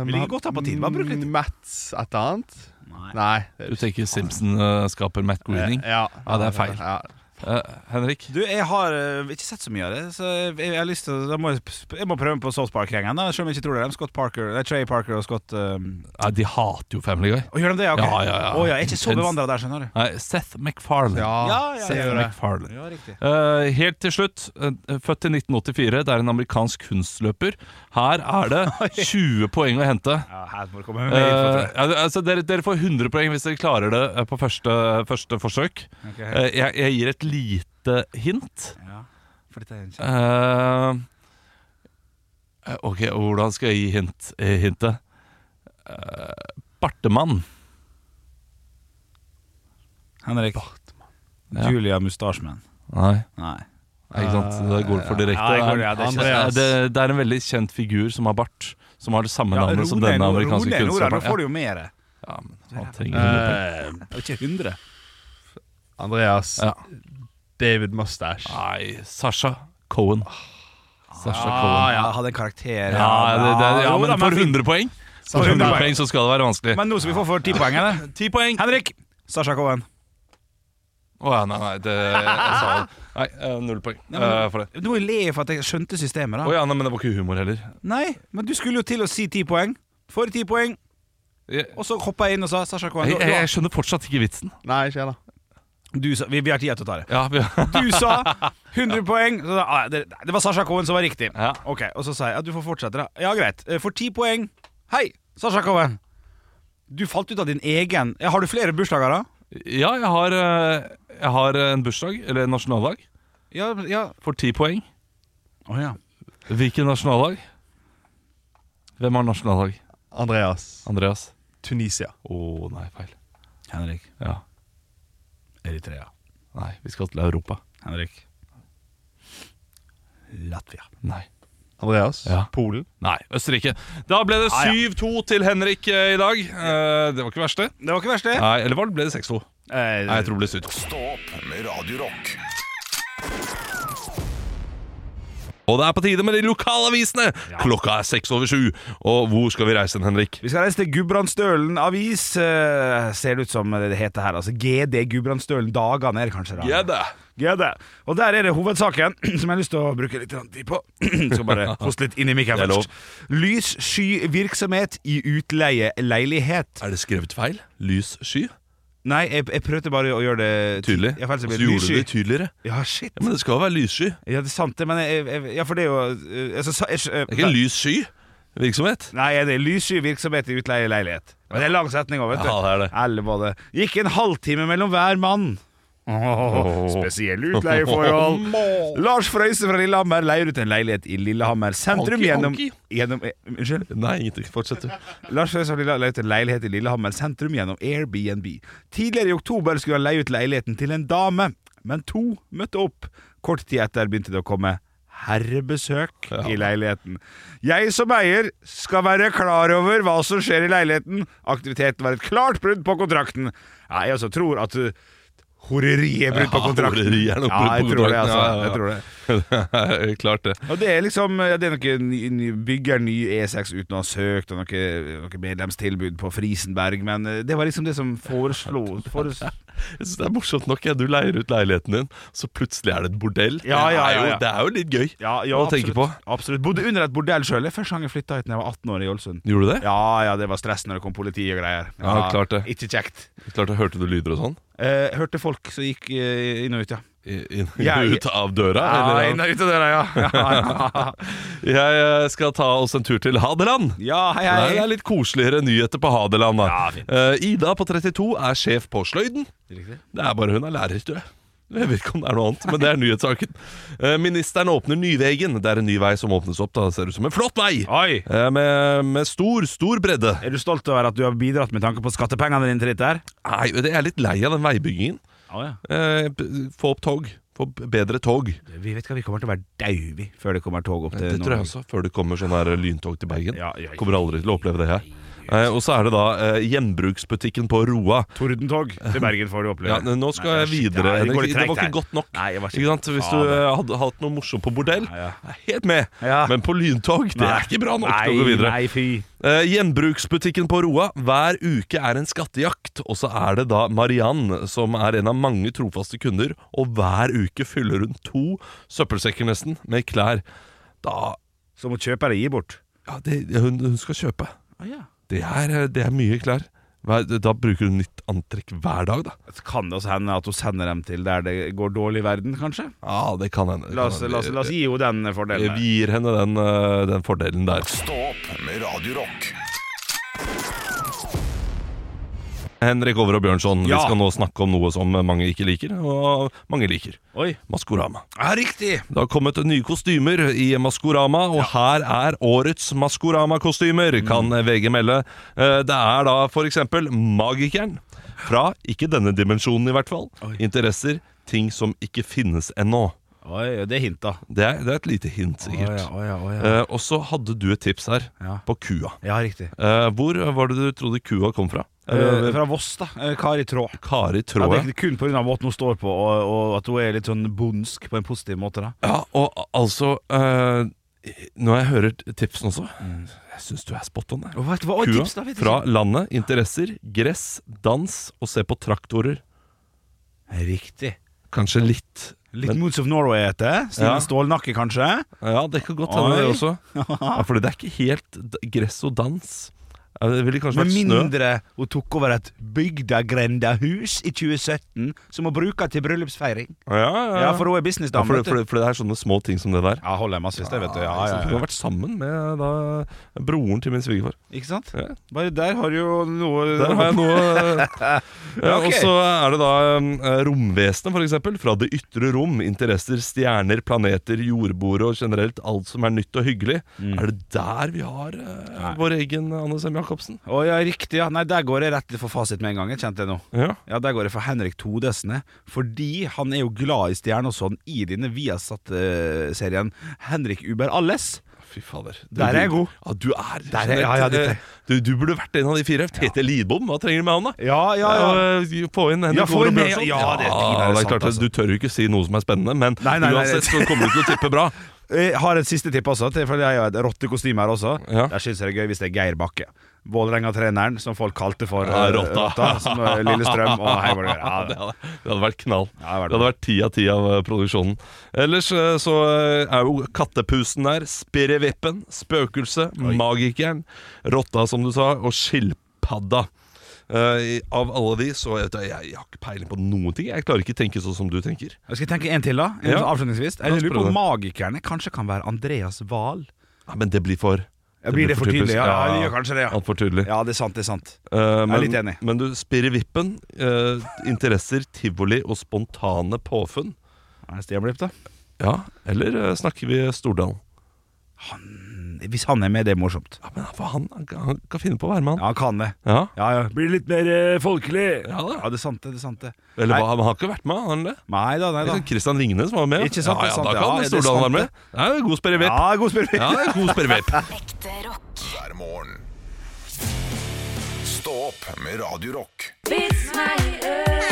Vi ligger godt her på tid. Bare bruk litt Mats et eller annet? Nei. det Du er tenker Simpson-skaper Matt Greening? Ja. Ja, det er feil. Ja. Eh, Henrik? Du, jeg har eh, ikke sett så mye av det, så jeg, jeg har lyst til da må jeg, sp- jeg må prøve meg på South Park-gjengen. da, Selv om jeg ikke tror det er dem. Scott Parker, nei, Trey Parker og Scott um, Nei, de hater jo Family Guy. Å, gjør de det? Ok. Ja, ja, ja. Å, jeg er ikke så Intens. bevandra der, skjønner du. Nei, Seth MacFarlane. Ja, Ja, ja, jeg Seth gjør det. MacFarlane. Ja, riktig. Eh, helt til slutt, eh, født i 1984, det er en amerikansk kunstløper. Her er *laughs* det 20 poeng å hente. Ja, her må du komme med info, tror Eh, jeg. al- altså dere, dere får 100 poeng hvis dere klarer det eh, på første, første forsøk. Ok. Eh, jeg, jeg gir et lite hint. Ja, for dette er en kjent- Eh, eh, ok, og hvordan skal jeg gi hint, eh, hintet? Eh, bartemann. Henrik. eh, Ja. Julia Mustasjeman. Nei, Nei. ikke sant? Det går for direkte. Ja, jeg går- ja, det er ikke- Eh, det, det er en veldig kjent figur som har bart, som har det samme Ja, navnet som ro ned denne nå, amerikanske ro ned nå, da, Nå får kunstneren. du jo mer. Ja, ja, men han trenger 100 poeng. Eh, Ikke 100. Andreas Ja. Ah, David Mustache. Nei, Sasha Cohen. Sasha Ja, Cohen. Ah, ja, hadde en Ja, karakter. det, det, ja Jo da, men for fint. 100 poeng For 100 poeng så skal det være vanskelig. Men nå skal vi få for 10 *laughs* poeng, eller? 10 poeng! Henrik! Sasha Cohen. Å ja, nei, nei, det jeg sa Nei, eh, null poeng eh, for det. Du må jo le for at jeg skjønte systemet, da. Å ja, nei, men det var ikke humor heller. Nei, men du skulle jo til å si 10 poeng. For 10 poeng. Jeg, Og så hoppa jeg inn og sa Sasha Cohen. jeg, Du, jeg skjønner fortsatt ikke vitsen. Nei, ikke heller. du, du sa, vi, vi har tid til å ta det. Ja, vi, Du sa 100 poeng. Så, da, ah, det, det var Sasha Cohen som var riktig. Ja. Ok, Og så sa jeg at du får fortsette. da Ja, greit. Eh, For 10 poeng. Hei, Sasha Cohen. Du falt ut av din egen ja, Har du flere bursdager, da? *laughs* ja jeg, har, eh, jeg har en bursdag, eller en nasjonaldag, Ja, ja. for ti poeng. Å ja. Hvilken nasjonaldag? Hvem har nasjonaldag? Andreas. Andreas? Tunisia. Å nei, feil. Henrik. Ja. Eritrea. Nei, vi skal til Europa. Henrik. Latvia. Nei. Andreas. Ja. Polen. Nei, Østerrike. Da ble det Ah, 7-2 til Henrik eh, i dag. Eh, det var ikke verst, det. Det var ikke verst, det. Nei, eller var det- ble det 6-2? Eh, Nei, jeg tror det ble 7-2. Stå opp med Radio Rock. Og det er på tide med de lokale avisene! Klokka er seks over sju. Og hvor skal vi reise, hen, Henrik? Vi skal reise til Gudbrandsdølen avis. eh, ser det ut som det heter her. Altså GD Gudbrandsdølen Dagene er det kanskje. da. det. GD. Og der er det hovedsaken *clears throat* som jeg har lyst til å bruke litt grann tid på. *clears throat* *laughs* skal bare hoste litt inn i mikken Det er lov. først. Lyssky virksomhet i utleieleilighet. Er det skrevet feil? Lys sky? Nei, jeg, jeg prøvde bare å gjøre det ty- Tydelig. Ja, for ellers Altså, blir gjorde du det lyssky. tydeligere? Ja, shit. Ja, Men det skal jo være lyssky. Det Ja, det er sant det, men jeg, jeg, Ja, for det er jo eh, altså, sa- jeg, jeg, er ikke en lys sky virksomhet. Nei, det er lyssky virksomhet i utleieleilighet. Men det er lang setning òg, vet du. Ja, det er det. Alle var det. Gikk en halvtime mellom hver mann. Åh, Spesielle utleieforhold. *laughs* Lars Frøyse fra Lillehammer leier ut en leilighet i Lillehammer sentrum Honky, gjennom, honky. gjennom eh, Unnskyld? Nei, ingenting. *laughs* Fortsett, du. Lars Frøyse fra Lillehammer leier ut en leilighet i Lillehammer sentrum gjennom Airbnb. Tidligere i oktober skulle han leie ut leiligheten til en dame, men to møtte opp. Kort tid etter begynte det å komme herrebesøk i leiligheten. Jeg som eier skal være klar over hva som skjer i leiligheten. Aktiviteten var et klart brudd på kontrakten. Nei, jeg altså tror at uh, horeriet er brudd på Ja, kontrakten. horeri er nok ja, brudd på jeg tror det, kontrakten. altså. Ja, ja, ja. Jeg tror det. Klart det. Og det er liksom ja, Det er noe ny, ny, bygger ny E6 uten å ha søkt, og noe, noe medlemstilbud på Frisenberg, men eh, det var liksom det som foreslo fores... Jeg synes Det er morsomt nok. Ja. Du leier ut leiligheten din, så plutselig er det et bordell. Ja, Det ja, er jo- ja, ja. Det er jo litt gøy Ja, ja, å tenke på. Absolutt. Bodde under et bordell sjøl. Første gang jeg flytta hit da jeg var 18 år i Ålesund. Gjorde du det? Ja ja, det var stress når det kom politi og greier. Ja, klart det. Ikke kjekt. Klart det, Hørte du lyder og sånn? Eh, hørte folk som gikk eh, inn og ut, ja. I- inn- Jeg- Ut av døra? eller? inn og ut av døra, *laughs* ja. Ja, ja. Jeg eh, skal ta oss en tur til Hadeland. ja, hei, Det er- det hei. er litt koseligere nyheter på Hadeland. Da. Ja, fint. Eh, Ida på 32 er sjef på Sløyden. Riktig. Det er bare hun er lærer, tror jeg. Jeg vet ikke om det er noe annet, men det er nyhetssaken. Eh, Ministeren åpner Nyvegen. Det er en ny vei som åpnes opp. da Det ser ut som en flott vei! Oi! Eh, Med, med stor, stor bredde. Er du stolt over at du har bidratt med tanke på skattepengene dine til dette her? Nei, jeg er litt lei av den veibyggingen. Ja, ja. Eh, b- Få opp tog. Få b- bedre tog. Vi vet hva, vi kommer til å være daue vi, før det kommer tog opp til Det tror jeg også. Før det kommer sånn her lyntog til Bergen. Ja, ja, ja. Kommer aldri til å oppleve det her. Eh, og så er det da eh, gjenbruksbutikken på Roa. Tordentog til Bergen får du oppleve. Ja, men nå skal Nei, jeg videre. Nei, Henrik. går det var tregt her. ikke godt nok. Nei, jeg var ikke- ikke sant? Hvis du Faen. eh, hadde hatt noe morsomt på bordell, Ja, ja. jeg er helt med. Ja. Men på lyntog, det Nei. er ikke bra nok til å gå Nei, videre. nei, fy. Eh, gjenbruksbutikken på Roa. Hver uke er en skattejakt, og så er det da Mariann som er en av mange trofaste kunder, og hver uke fyller hun to søppelsekker nesten med klær. Da Så må kjøpere gi bort. Ja, det, hun, hun skal kjøpe. Ah, ja. Det er, eh, det er mye klær. Hver, da bruker hun nytt antrekk hver dag, da. Så Kan det også hende at hun sender dem til der det går dårlig i verden, kanskje? Ja, det kan hende. det La kan oss, hende. la oss, la oss gi henne den fordelen. Eh, Vi gir henne den, eh, den fordelen der. Stå opp med Radio Rock. Henrik Over og Bjørnson, Ja. vi skal nå snakke om noe som mange ikke liker, og mange liker. Oi. Maskorama. Ja, riktig! Det har kommet nye kostymer i Maskorama, og her er årets Maskorama-kostymer, kan Mm. VG melde. Eh, Det er da for eksempel Magikeren. Fra ikke denne dimensjonen, i hvert fall. Interesser, ting som ikke finnes ennå. Oi, det er hinta. Det er, det er et lite hint, sikkert. ja, Eh, Og så hadde du et tips her, Ja. på kua. ja, riktig. Eh, Hvor var det du trodde kua kom fra? Eh, Eller, fra Voss, da. Eh, Kari Tråd. Kari, Ja, tror det jeg. er ikke kun pga. måten hun står på, og, og at hun er litt sånn bondsk på en positiv måte. da Ja, og al- altså eh, Når jeg hører t- tipsen også Jeg syns du er spot on der. Og vet du hva? Oi, tips da, vet du Mm. fra ikke. landet, interesser, gress, dans og se på traktorer. Riktig. Kanskje litt. Litt Men- Moods of Norway heter det. Stine Ja. Stålnakke, kanskje. Ja, det kan godt hende, det Oi. *laughs* også. Ja, fordi det er ikke helt d- gress og dans. Ja, Det ville kanskje Med vært snø. mindre hun tok over et bygdagrendahus i 2017, som hun bruker til bryllupsfeiring. Ja, ja, ja. Ja, for hun er Ja, businessdame. for, vet det- for, du. det- for det er sånne små ting som det der. Ja, holder jeg massevis, det, vet du. Ja, Så ja, Hun har ja. vært sammen med da, broren til min svigerfar. Ikke sant? Ja. Bare der har du jo noe Der har jeg noe eh, *laughs* ja, Ok. Og så er det da um, romvesenet, for eksempel. Fra det ytre rom. Interesser, stjerner, planeter, jordbordet og generelt alt som er nytt og hyggelig. Mm. Er det der vi har eh, vår egen Anne Sem Jacobsen? Å ja, riktig. ja Nei, der går jeg rett for fasit med en gang. Jeg kjente det nå. Ja. Ja, Der går jeg for Henrik Todesen. jeg. Fordi han er jo glad i stjerner og sånn i denne Viasat-serien Henrik Uber Alles. Fy fader. Du, Der er jeg du- god. Ja, du er Der er- ja, ja, generelt, eh, dette- du, du burde vært en av de fire. Tete Lidbom, hva trenger du med han, da? Ja, ja, ja. Eh, og, eh, Få inn Henrik Ja, få Over inn og med- Bjørnson. ja, det er- det er det er sant, klart altså. Du tør jo ikke si noe som er spennende, men Nei, nei, nei, nei. uansett så kommer du til å tippe *laughs* bra. Eh, Har et siste tipp også, til- for jeg har et rottekostyme her også. Ja. Der syns jeg det er gøy hvis det er Geir Bakke. Vålerenga-treneren som folk kalte for Ja, eh, rotta. Som eh, Lillestrøm og *laughs* hei, hva det gjør. Ja, det, Ja, hadde, det hadde vært knall. Ja, det hadde vært det hadde vært ti av ti av eh, produksjonen. Ellers eh, så eh, er jo kattepusen der, spirrevippen, spøkelset, magikeren, rotta, som du sa, og skilpadda. Eh, i- av alle de, så jeg, vet du, jeg, jeg har ikke peiling på noen ting. Jeg klarer ikke tenke sånn som du tenker. Jeg Skal jeg tenke en til, da? En Ja. sånn Avslutningsvis. La Jeg oss lurer på prøve. om magikerne kanskje kan være Andreas Wahl. Ja, men det blir for Ja, blir det for tydelig? typisk. Ja, ja, det gjør kanskje det, ja. Altfor tydelig. Ja, det er sant, det er sant. Eh, men, litt enig. Men du, spirrevippen, eh, interesser, tivoli og spontane påfunn. Er det Stian Blipp, da? Ja, eller eh, snakker vi Stordalen? Hvis han er med, det er morsomt. Ja, men for han, han, kan- han kan finne på å være med, han. Ja, han kan det. Ja. Ja, ja. Blir litt mer eh, folkelig. Ja da. Ja, det er sant, det. det er sant det Eller Nei. hva, han har ikke vært med, har han det? Nei da, nei da. Sånn Christian Ringnes var med. Ikke sant, ja, det er ja, sant, da ja, kan det er Stordalen være sant, med. Det er en god sperrevipp. Ja, Ja. ah, god spiller. det er en god *laughs* sperrevipp. Ekte rock. hver morgen. Stå opp med Radio Rock. Vits meg i øret.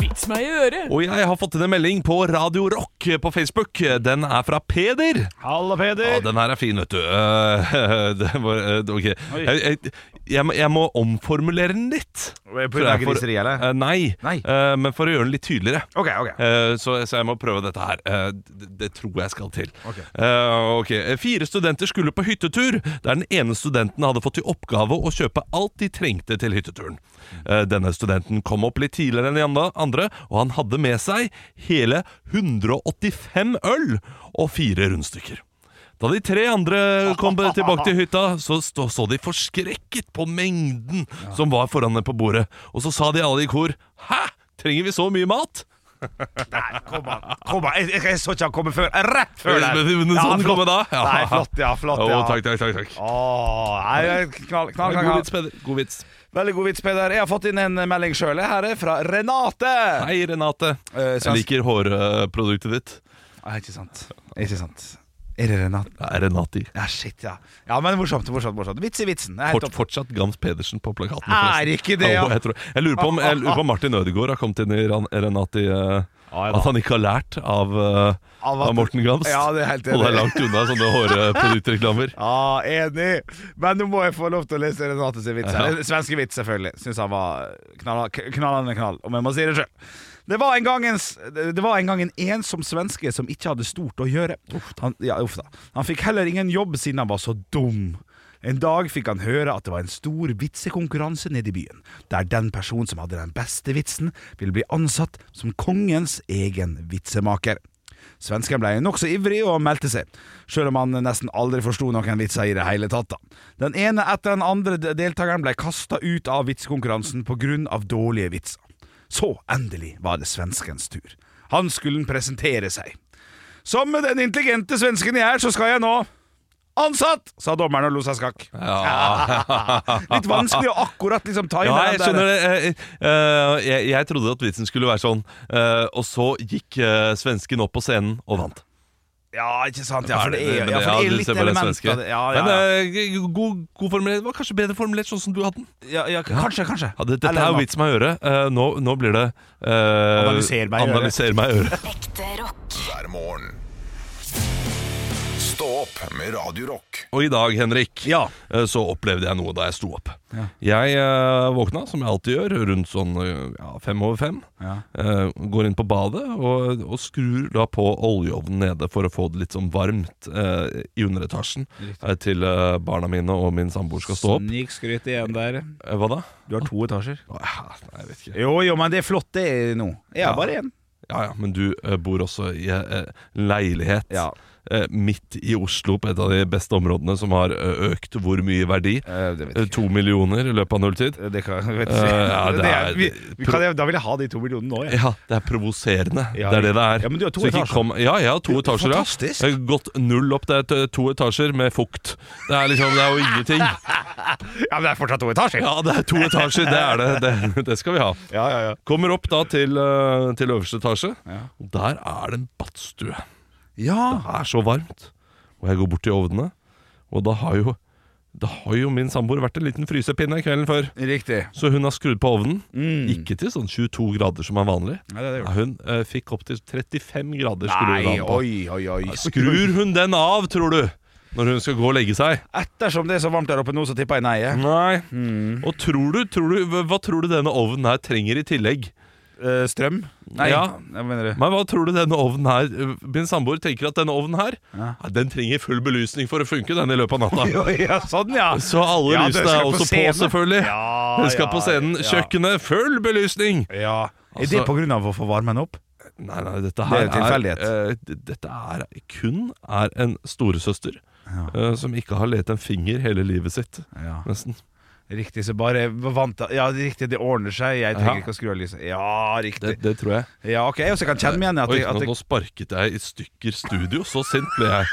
Vits meg i øret. Og jeg har fått inn en melding på Radio Rock på Facebook. Den er fra Peder. Halla, Ja, Peder. den her er fin, vet du. Eh, *laughs* det var, eh, ok. Jeg, jeg, jeg, må, jeg må omformulere den litt. På Tror jeg, for- griseriet, eller? Eh, Nei, Nei. Eh, men for å gjøre den litt tydeligere. Ok, ok. Eh, Så, så jeg må prøve dette her. Eh, Det, det tror jeg skal til. Ok. Eh, ok. Fire studenter skulle på hyttetur, der den ene studenten hadde fått i oppgave å kjøpe alt de trengte til hytteturen. Eh, Denne studenten kom opp litt tidligere enn de andre- andre, og han hadde med seg hele 185 øl og fire rundstykker. Da de tre andre kom tilbake til hytta, så stå, så de forskrekket på mengden som var foran dem på bordet. Og så sa de alle i kor 'Hæ? Trenger vi så mye mat?' Nei, kom an. Kom an. Jeg, jeg, jeg så ikke han komme før. Rett før der. Men- men- men sånn flott. kommer da. Ja. Nei, flott, ja. Flott, Å, ja. takk, takk, takk, takk. Åh, nei, nei, knall, knall, knall, God knall. vits, Peder. God vits. Veldig god vits, Peder. Jeg har fått inn en melding sjøl. Her er fra Renate. Hei, Renate. Eh, Jeg så han- liker hårproduktet ditt. Nei, ikke sant. Ikke sant. Er det Renate? Det er Renati. Ja, shit, ja. Ja, men morsomt, morsomt, morsomt. Vits i vitsen. Det er Fort, helt topp. fortsatt Gams Pedersen på plakaten. Er ikke det, ja. Jo, jeg, tror, jeg, lurer på om, jeg lurer på om Martin Ødegaard har kommet inn i Ran- Renati eh, Ja, da. At han ikke har lært av, eh, Av av, at- Morten Gams. Ja, det er helt Og det er enig. langt unna sånne hårproduktreklamer. *laughs* Ja, enig! Men nå må jeg få lov til å lese Renate sin vits. Ja. her. Den Svenske vits, selvfølgelig. Syns han var knall- k- knallende knall, om jeg må si det sjøl. Det var, en gang en, s- det var en gang en ensom svenske som ikke hadde stort å gjøre. Han, ja, uff da. han fikk heller ingen jobb siden han var så dum. En dag fikk han høre at det var en stor vitsekonkurranse nede i byen, der den personen som hadde den beste vitsen, ville bli ansatt som kongens egen vitsemaker. Svensken ble nokså ivrig og meldte seg, sjøl om han nesten aldri forsto noen vitser i det hele tatt. da. Den ene etter den andre de- deltakeren ble kasta ut av vitsekonkurransen pga. dårlige vitser. Så endelig var det svenskens tur. Han skulle presentere seg. Som den intelligente svensken jeg er, så skal jeg nå Ansatt! sa dommeren og lo seg skakk. *laughs* Litt vanskelig å akkurat liksom ta inn Ja, den jeg der- skjønner det. Eh, eh, jeg, jeg trodde at vitsen skulle være sånn, eh, og så gikk eh, svensken opp på scenen og vant. Ja, ikke sant? Ja, for det er, Men- ja, for det Altså, ja, er du litt ser bare den element svenske. av det. Ja, ja, ja. Men eh, god, god formulert. Det var kanskje bedre formulert sånn som du hadde den. ja, ja kanskje, kanskje. Ja, det, dette Eller er noe. jo vits meg i øret. Eh, nå, nå blir det eh, Analyser meg i øret. analyser meg i øret. Ekte rock. hver morgen. Stå opp med Radio Rock. Og i dag, Henrik, Ja. eh, så opplevde jeg noe da jeg sto opp. Jeg eh, våkna, som jeg alltid gjør, rundt sånn eh, ja, fem over fem. Ja. Eh, går inn på badet og, og skrur da på oljeovnen nede for å få det litt sånn varmt eh, i underetasjen eh, til eh, barna mine og min samboer skal Sånn. stå opp. Snikskryt igjen der. Eh, hva da? Du har to etasjer. Åh, Nei, jeg vet ikke. Jo, jo, men det er flott det er nå. Jeg har Ja. bare én. Ja, ja, men du eh, bor også i eh, leilighet Ja. eh, midt i Oslo, på et av de beste områdene som har eh, økt hvor mye verdi? Eh, det vet Eh, jeg to millioner i løpet av nulltid. Det kan jeg vet Eh, ikke. ja, det Det er- er- vi, vi kan, Da vil jeg ha de to millionene nå, jeg. Ja, det er provoserende. Ja, det er det det er. ja, men du har to Så ikke etasjer. Kom, ja, jeg har to etasjer. Ja. fantastisk. Jeg har gått null opp. Det er t- to etasjer med fukt. Det er liksom, det er jo *laughs* ingenting. Ja, men det er fortsatt to etasjer! Ja, det er to etasjer. Det er det. Det, det skal vi ha. Ja, ja, ja. Kommer opp da til, eh, til øverste etasje. Ja. Og der er det en badstue. Ja, Det er så varmt. Og jeg går bort til ovnene, og da har jo, da har jo min samboer vært en liten frysepinne kvelden før. Riktig. Så hun har skrudd på ovnen. Mm. Ikke til sånn 22 grader som er vanlig. Ja, det er det Nei, gjort. hun eh, fikk opptil 35 grader skrur Nei, hun av på. oi, oi, oi. Skrur hun den av, tror du? Når hun skal gå og legge seg? Ettersom det er så varmt der oppe nå, så tipper jeg nei. jeg. Nei. Og tror du, tror du, hva tror du denne ovnen her trenger i tillegg? Eh, strøm? Nei, Ja. jeg mener *laughs* det. Men hva tror du denne ovnen her eh, Min samboer tenker at denne ovnen her ja, Den trenger full belysning for å funke den i løpet av natta. Jo, ja, sånn, ja. Så alle Ja, lysene den er skal på også på, scenen. selvfølgelig. Ja, Hun skal ja, på scenen. ja. Kjøkkenet, full belysning! Ja. Er Altså- det på grunn av å få varmen opp? Nei, nei, dette Det er her jo tilfeldighet. eh, d- dette er kun er en storesøster eh, som ikke har let en finger hele livet sitt, Ja. nesten. Riktig, så bare vant Ja, riktig, det ordner seg. Jeg trenger ikke å skru av lyset. Ja, riktig. Det, det tror jeg. Ja, ok, jeg også kan kjenne meg igjen i at, Oi, jeg- at nå, nå jeg, sparket jeg i stykker studio. Så sint ble jeg.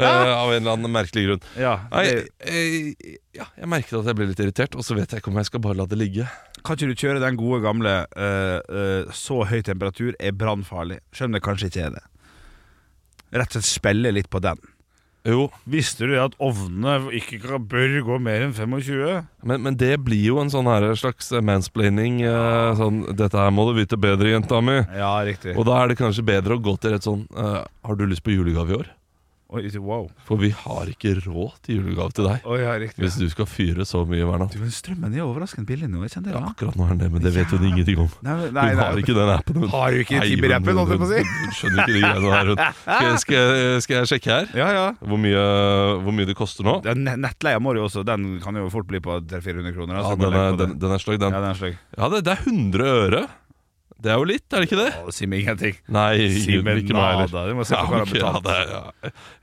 eh, av en eller annen merkelig grunn. ja, Nei, det, eh, ja, jeg merket at jeg ble litt irritert, og så vet jeg ikke om jeg skal bare la det ligge. Kan ikke du kjøre den gode gamle eh, eh, Så høy temperatur er brannfarlig, selv om det kanskje ikke er det. Rett og slett spille litt på den. Jo, Visste du at ovnene ikke kan- bør gå mer enn 25? Men, men det blir jo en sånn her slags mansplaining. eh, sånn, 'Dette her må du vite bedre, jenta mi'. Ja, riktig. Og da er det kanskje bedre å gå til et sånn eh, 'Har du lyst på julegave i år?' Oi, wow. For vi har ikke råd til julegave til deg Oi, ja, riktig. hvis du skal fyre så mye hver natt. Du, men strømmen er overraskende billig nå, jeg kjenner det. Ja, da. akkurat nå er den det, men det vet hun ingenting om. Nei, men- Hun har ikke den appen. Hun. Har du ikke Nei, Tiber-appen, hun- holdt jeg på å si? Hun, hun skjønner ikke de greiene der. Hun. Skal, jeg- skal, jeg- skal jeg sjekke her Ja, ja. hvor mye, hvor mye det koster nå? Den ne- Nettleia må jo også Den kan jo fort bli på 300-400 kroner. Ja, altså, den er, bare legg på den, den er sløy, det. den. Ja, den er sløy. Ja, det, det er 100 øre. Det er jo litt, er det ikke det? Å, Si meg ingenting. Nei, Si ikke meg ikke meg heller. nada, du må se på ja, hva han har ok, ja, betalt. det, er- ja.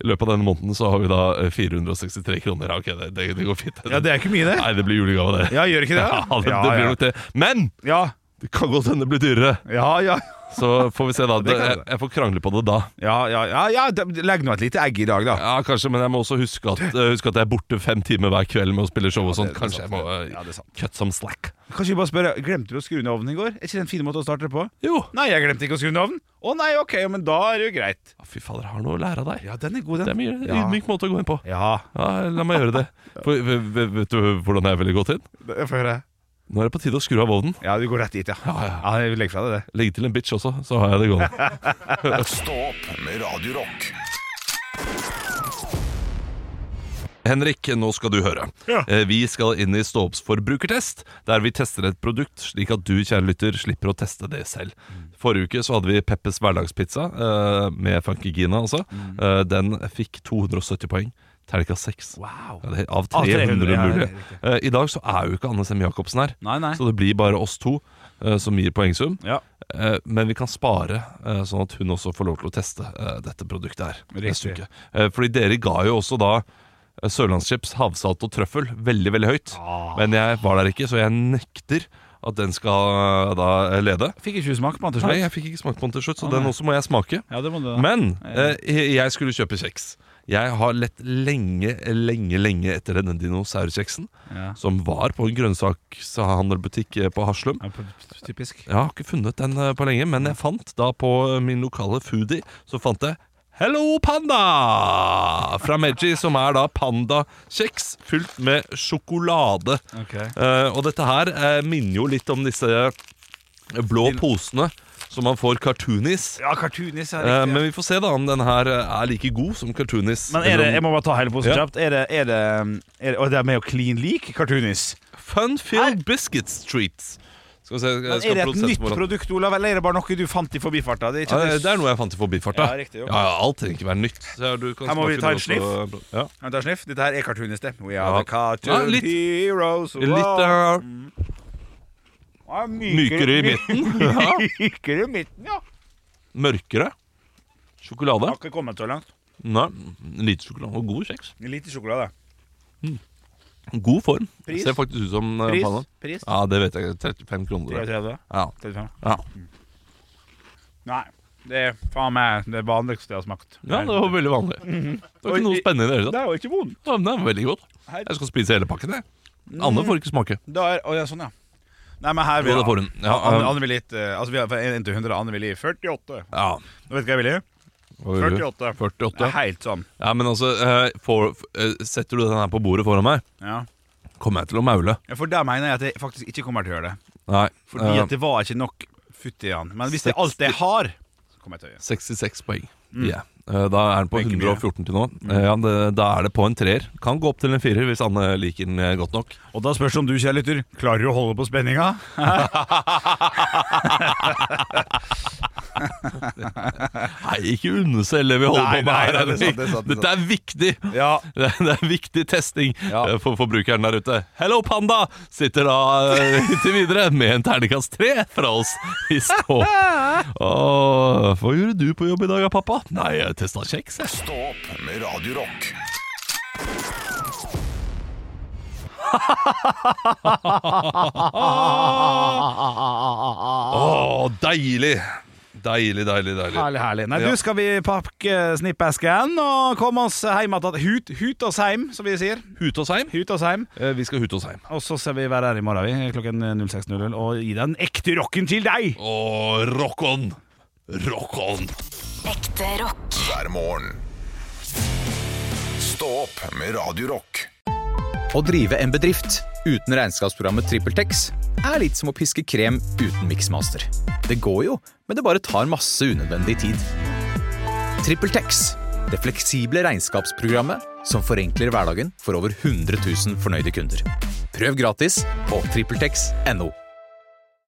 I løpet av denne måneden så har vi da eh, 463 kroner. Ja, ok, det, det, det går fint. Ja, det er ikke mye, det. *laughs* Nei, det blir julegave, det. Ja, gjør ikke det? Ja, det, det blir nok det. Men Ja, Det kan godt hende det blir dyrere. Ja, ja, Så får vi se, da. Det kan jeg, det. jeg får krangle på det da. ja, ja, ja, ja. da- Legg nå et lite egg i dag, da. Ja, kanskje, men jeg må også huske at, eh, huske at jeg er borte fem timer hver kveld med å spille show og sånn. det er Kanskje jeg sant, må det- eh, ja, det er sant. cut some slack. Kanskje vi bare spørre, Glemte du å skru ned ovnen i går? Er ikke det en fin måte å starte det på? Jo. Nei, jeg glemte ikke å skru ned ovnen. Å nei, ok, ja, men da er det jo greit. Ja, Fy fader, jeg har noe å lære av deg. Ja, den er god, Det er den. mye Ja. ydmyk måte å gå inn på. Ja, Ja, la meg gjøre det. *laughs* For, v- v- vet du hvordan jeg ville gått inn? jeg får høre. Nå er det på tide å skru av ovnen. Ja, du går rett dit, ja. Ja, jeg legger fra deg det. Legg til en bitch også, så har jeg det gående. Stå opp med Radio Rock. *laughs* Henrik, nå skal du høre. Ja. Eh, Vi skal inn i Ståops forbrukertest, der vi tester et produkt slik at du, kjære lytter, slipper å teste det selv. Forrige uke så hadde vi Peppes hverdagspizza, eh, med Funky Gina altså. Eh, Den fikk 270 poeng. Terka 6. Wow. Ja, det er av Av 300 300, ja, mulige. det er Eh, I dag så er jo ikke Anne Sem Jacobsen her, Nei, nei. så det blir bare oss to eh, som gir poengsum. Ja. Eh, Men vi kan spare, eh, sånn at hun også får lov til å teste eh, dette produktet her. neste Riktig. uke. Eh, Fordi dere ga jo også da eh, sørlandschips, havsalt og trøffel veldig, veldig høyt. Ah. Men jeg var der ikke, så jeg nekter at den skal eh, da eh, lede. Fikk ikke du smake på den til Nei, slutt? jeg fikk ikke smake på den til slutt, så den også må jeg smake. Ja, det må du da. Men eh, jeg skulle kjøpe kjeks. Jeg har lett lenge, lenge, lenge etter denne dinosaurkjeksen, Ja. som var på en grønnsakshandlerbutikk eh, på Haslum. Ja, p- typisk. Jeg har ikke funnet den eh, på lenge, men jeg fant da på eh, min lokale foodie Så fant jeg Hello Panda! Fra Meggi, som er da pandakjeks fylt med sjokolade. Ok. Eh, og dette her eh, minner jo litt om disse eh, blå posene som man får cartoonis. Ja, cartoonis er Eh, riktig. men vi får se da om den her eh, er like god som cartoonis. Men er det, Eller jeg om- må bare ta hele posen Ja. kjapt. Er det, er det, um, er det, og det er med å clean lik cartoonis? Fun-filled biscuit streets. Skal vi se, jeg Men skal er det et produsenten nytt vår- produkt, Olav, eller er det bare noe du fant i forbifarta? Det er Ja, ikke det er noe jeg fant i forbifarta. Ja, riktig, ok. ja, ja, alt trenger ikke være nytt. Så du kan Her må vi smake ta en noe også. Ja. Kan jeg ta en sniff? Dette her er cartoonis, det. We Ja. are the cartoon Ja, litt- heroes. Litt wow. eh, Ja, mykere i *laughs* midten. *laughs* Ja. Mykere i midten, ja. Mørkere. Sjokolade. Har ikke kommet så langt. Nei, lite sjokolade og god kjeks. Lite sjokolade. God form. Pris? Ser faktisk ut som eh, Pris? panna. Pris? Ja, det vet jeg ikke. 35 kroner. 33? Ja. 35? Ja. Nei. Det er faen meg det vanligste jeg har smakt. ja, det var veldig vanlig. Mhm. Det var ikke noe spennende i det hele tatt. Det er jo ikke vondt. Ja, men Det er veldig godt. Jeg skal spise hele pakken, jeg. Mm. Anne får ikke smake. Da er, å, ja, sånn, ja. Nei, men her Jo, vil det får hun. Ja, Anne, um, Anne vil gitt eh, Altså, vi har fra 1 til 100. Anne vil gi 48. ja. Nå vet du hva jeg vil gi? Hva vil du? 48. 48. Helt sånn. Ja, men altså, eh, får- eh, setter du den her på bordet foran meg, Ja. kommer jeg til å maule. Ja, For der mener jeg at jeg faktisk ikke kommer til å gjøre det. Nei. Fordi eh, at det var ikke nok futt i han. Men hvis det er alt jeg har, så kommer jeg til å gjøre det. 66 poeng. Mm. Ja. Eh, Da er den på Det er ikke 114 til nå. Mm. Eh, Ja, det, da er det på en treer. Kan gå opp til en firer hvis Anne liker den eh, godt nok. Og da spørs det om du, kjære lytter, klarer du å holde på spenninga? Nei, ikke underselge vi holder Nei, på med nei, her. nei, det er sant, det er sant, det er Dette er viktig! Ja. *laughs* Det er, det er viktig testing Ja. eh, for forbrukeren der ute. Hello Panda sitter da eh, inntil videre med en terningkast tre fra oss i *laughs* stå. Åh, hva gjorde du på jobb i dag, pappa? Nei, jeg testa kjeks, jeg. Stå opp med Radio Rock. Åh, deilig! Deilig, deilig, deilig. Herlig, herlig. Nei, Ja. du skal vi pakke snippesken og komme oss hjem igjen. Hut, hut oss hjem, som vi sier. Hute oss heim. Hut oss hjem. Eh, Vi skal hute oss heim. Og så skal vi være her i morgen vi, klokken 06.00 og gi den ekte rocken til deg. Og rock on! Rock on! Ekte rock. Hver morgen. Stå opp med Radio Rock. Å drive en bedrift uten regnskapsprogrammet TrippelTex er litt som å piske krem uten miksmaster. Det går jo, men det bare tar masse unødvendig tid. TrippelTex det fleksible regnskapsprogrammet som forenkler hverdagen for over 100 000 fornøyde kunder. Prøv gratis på TrippelTex.no.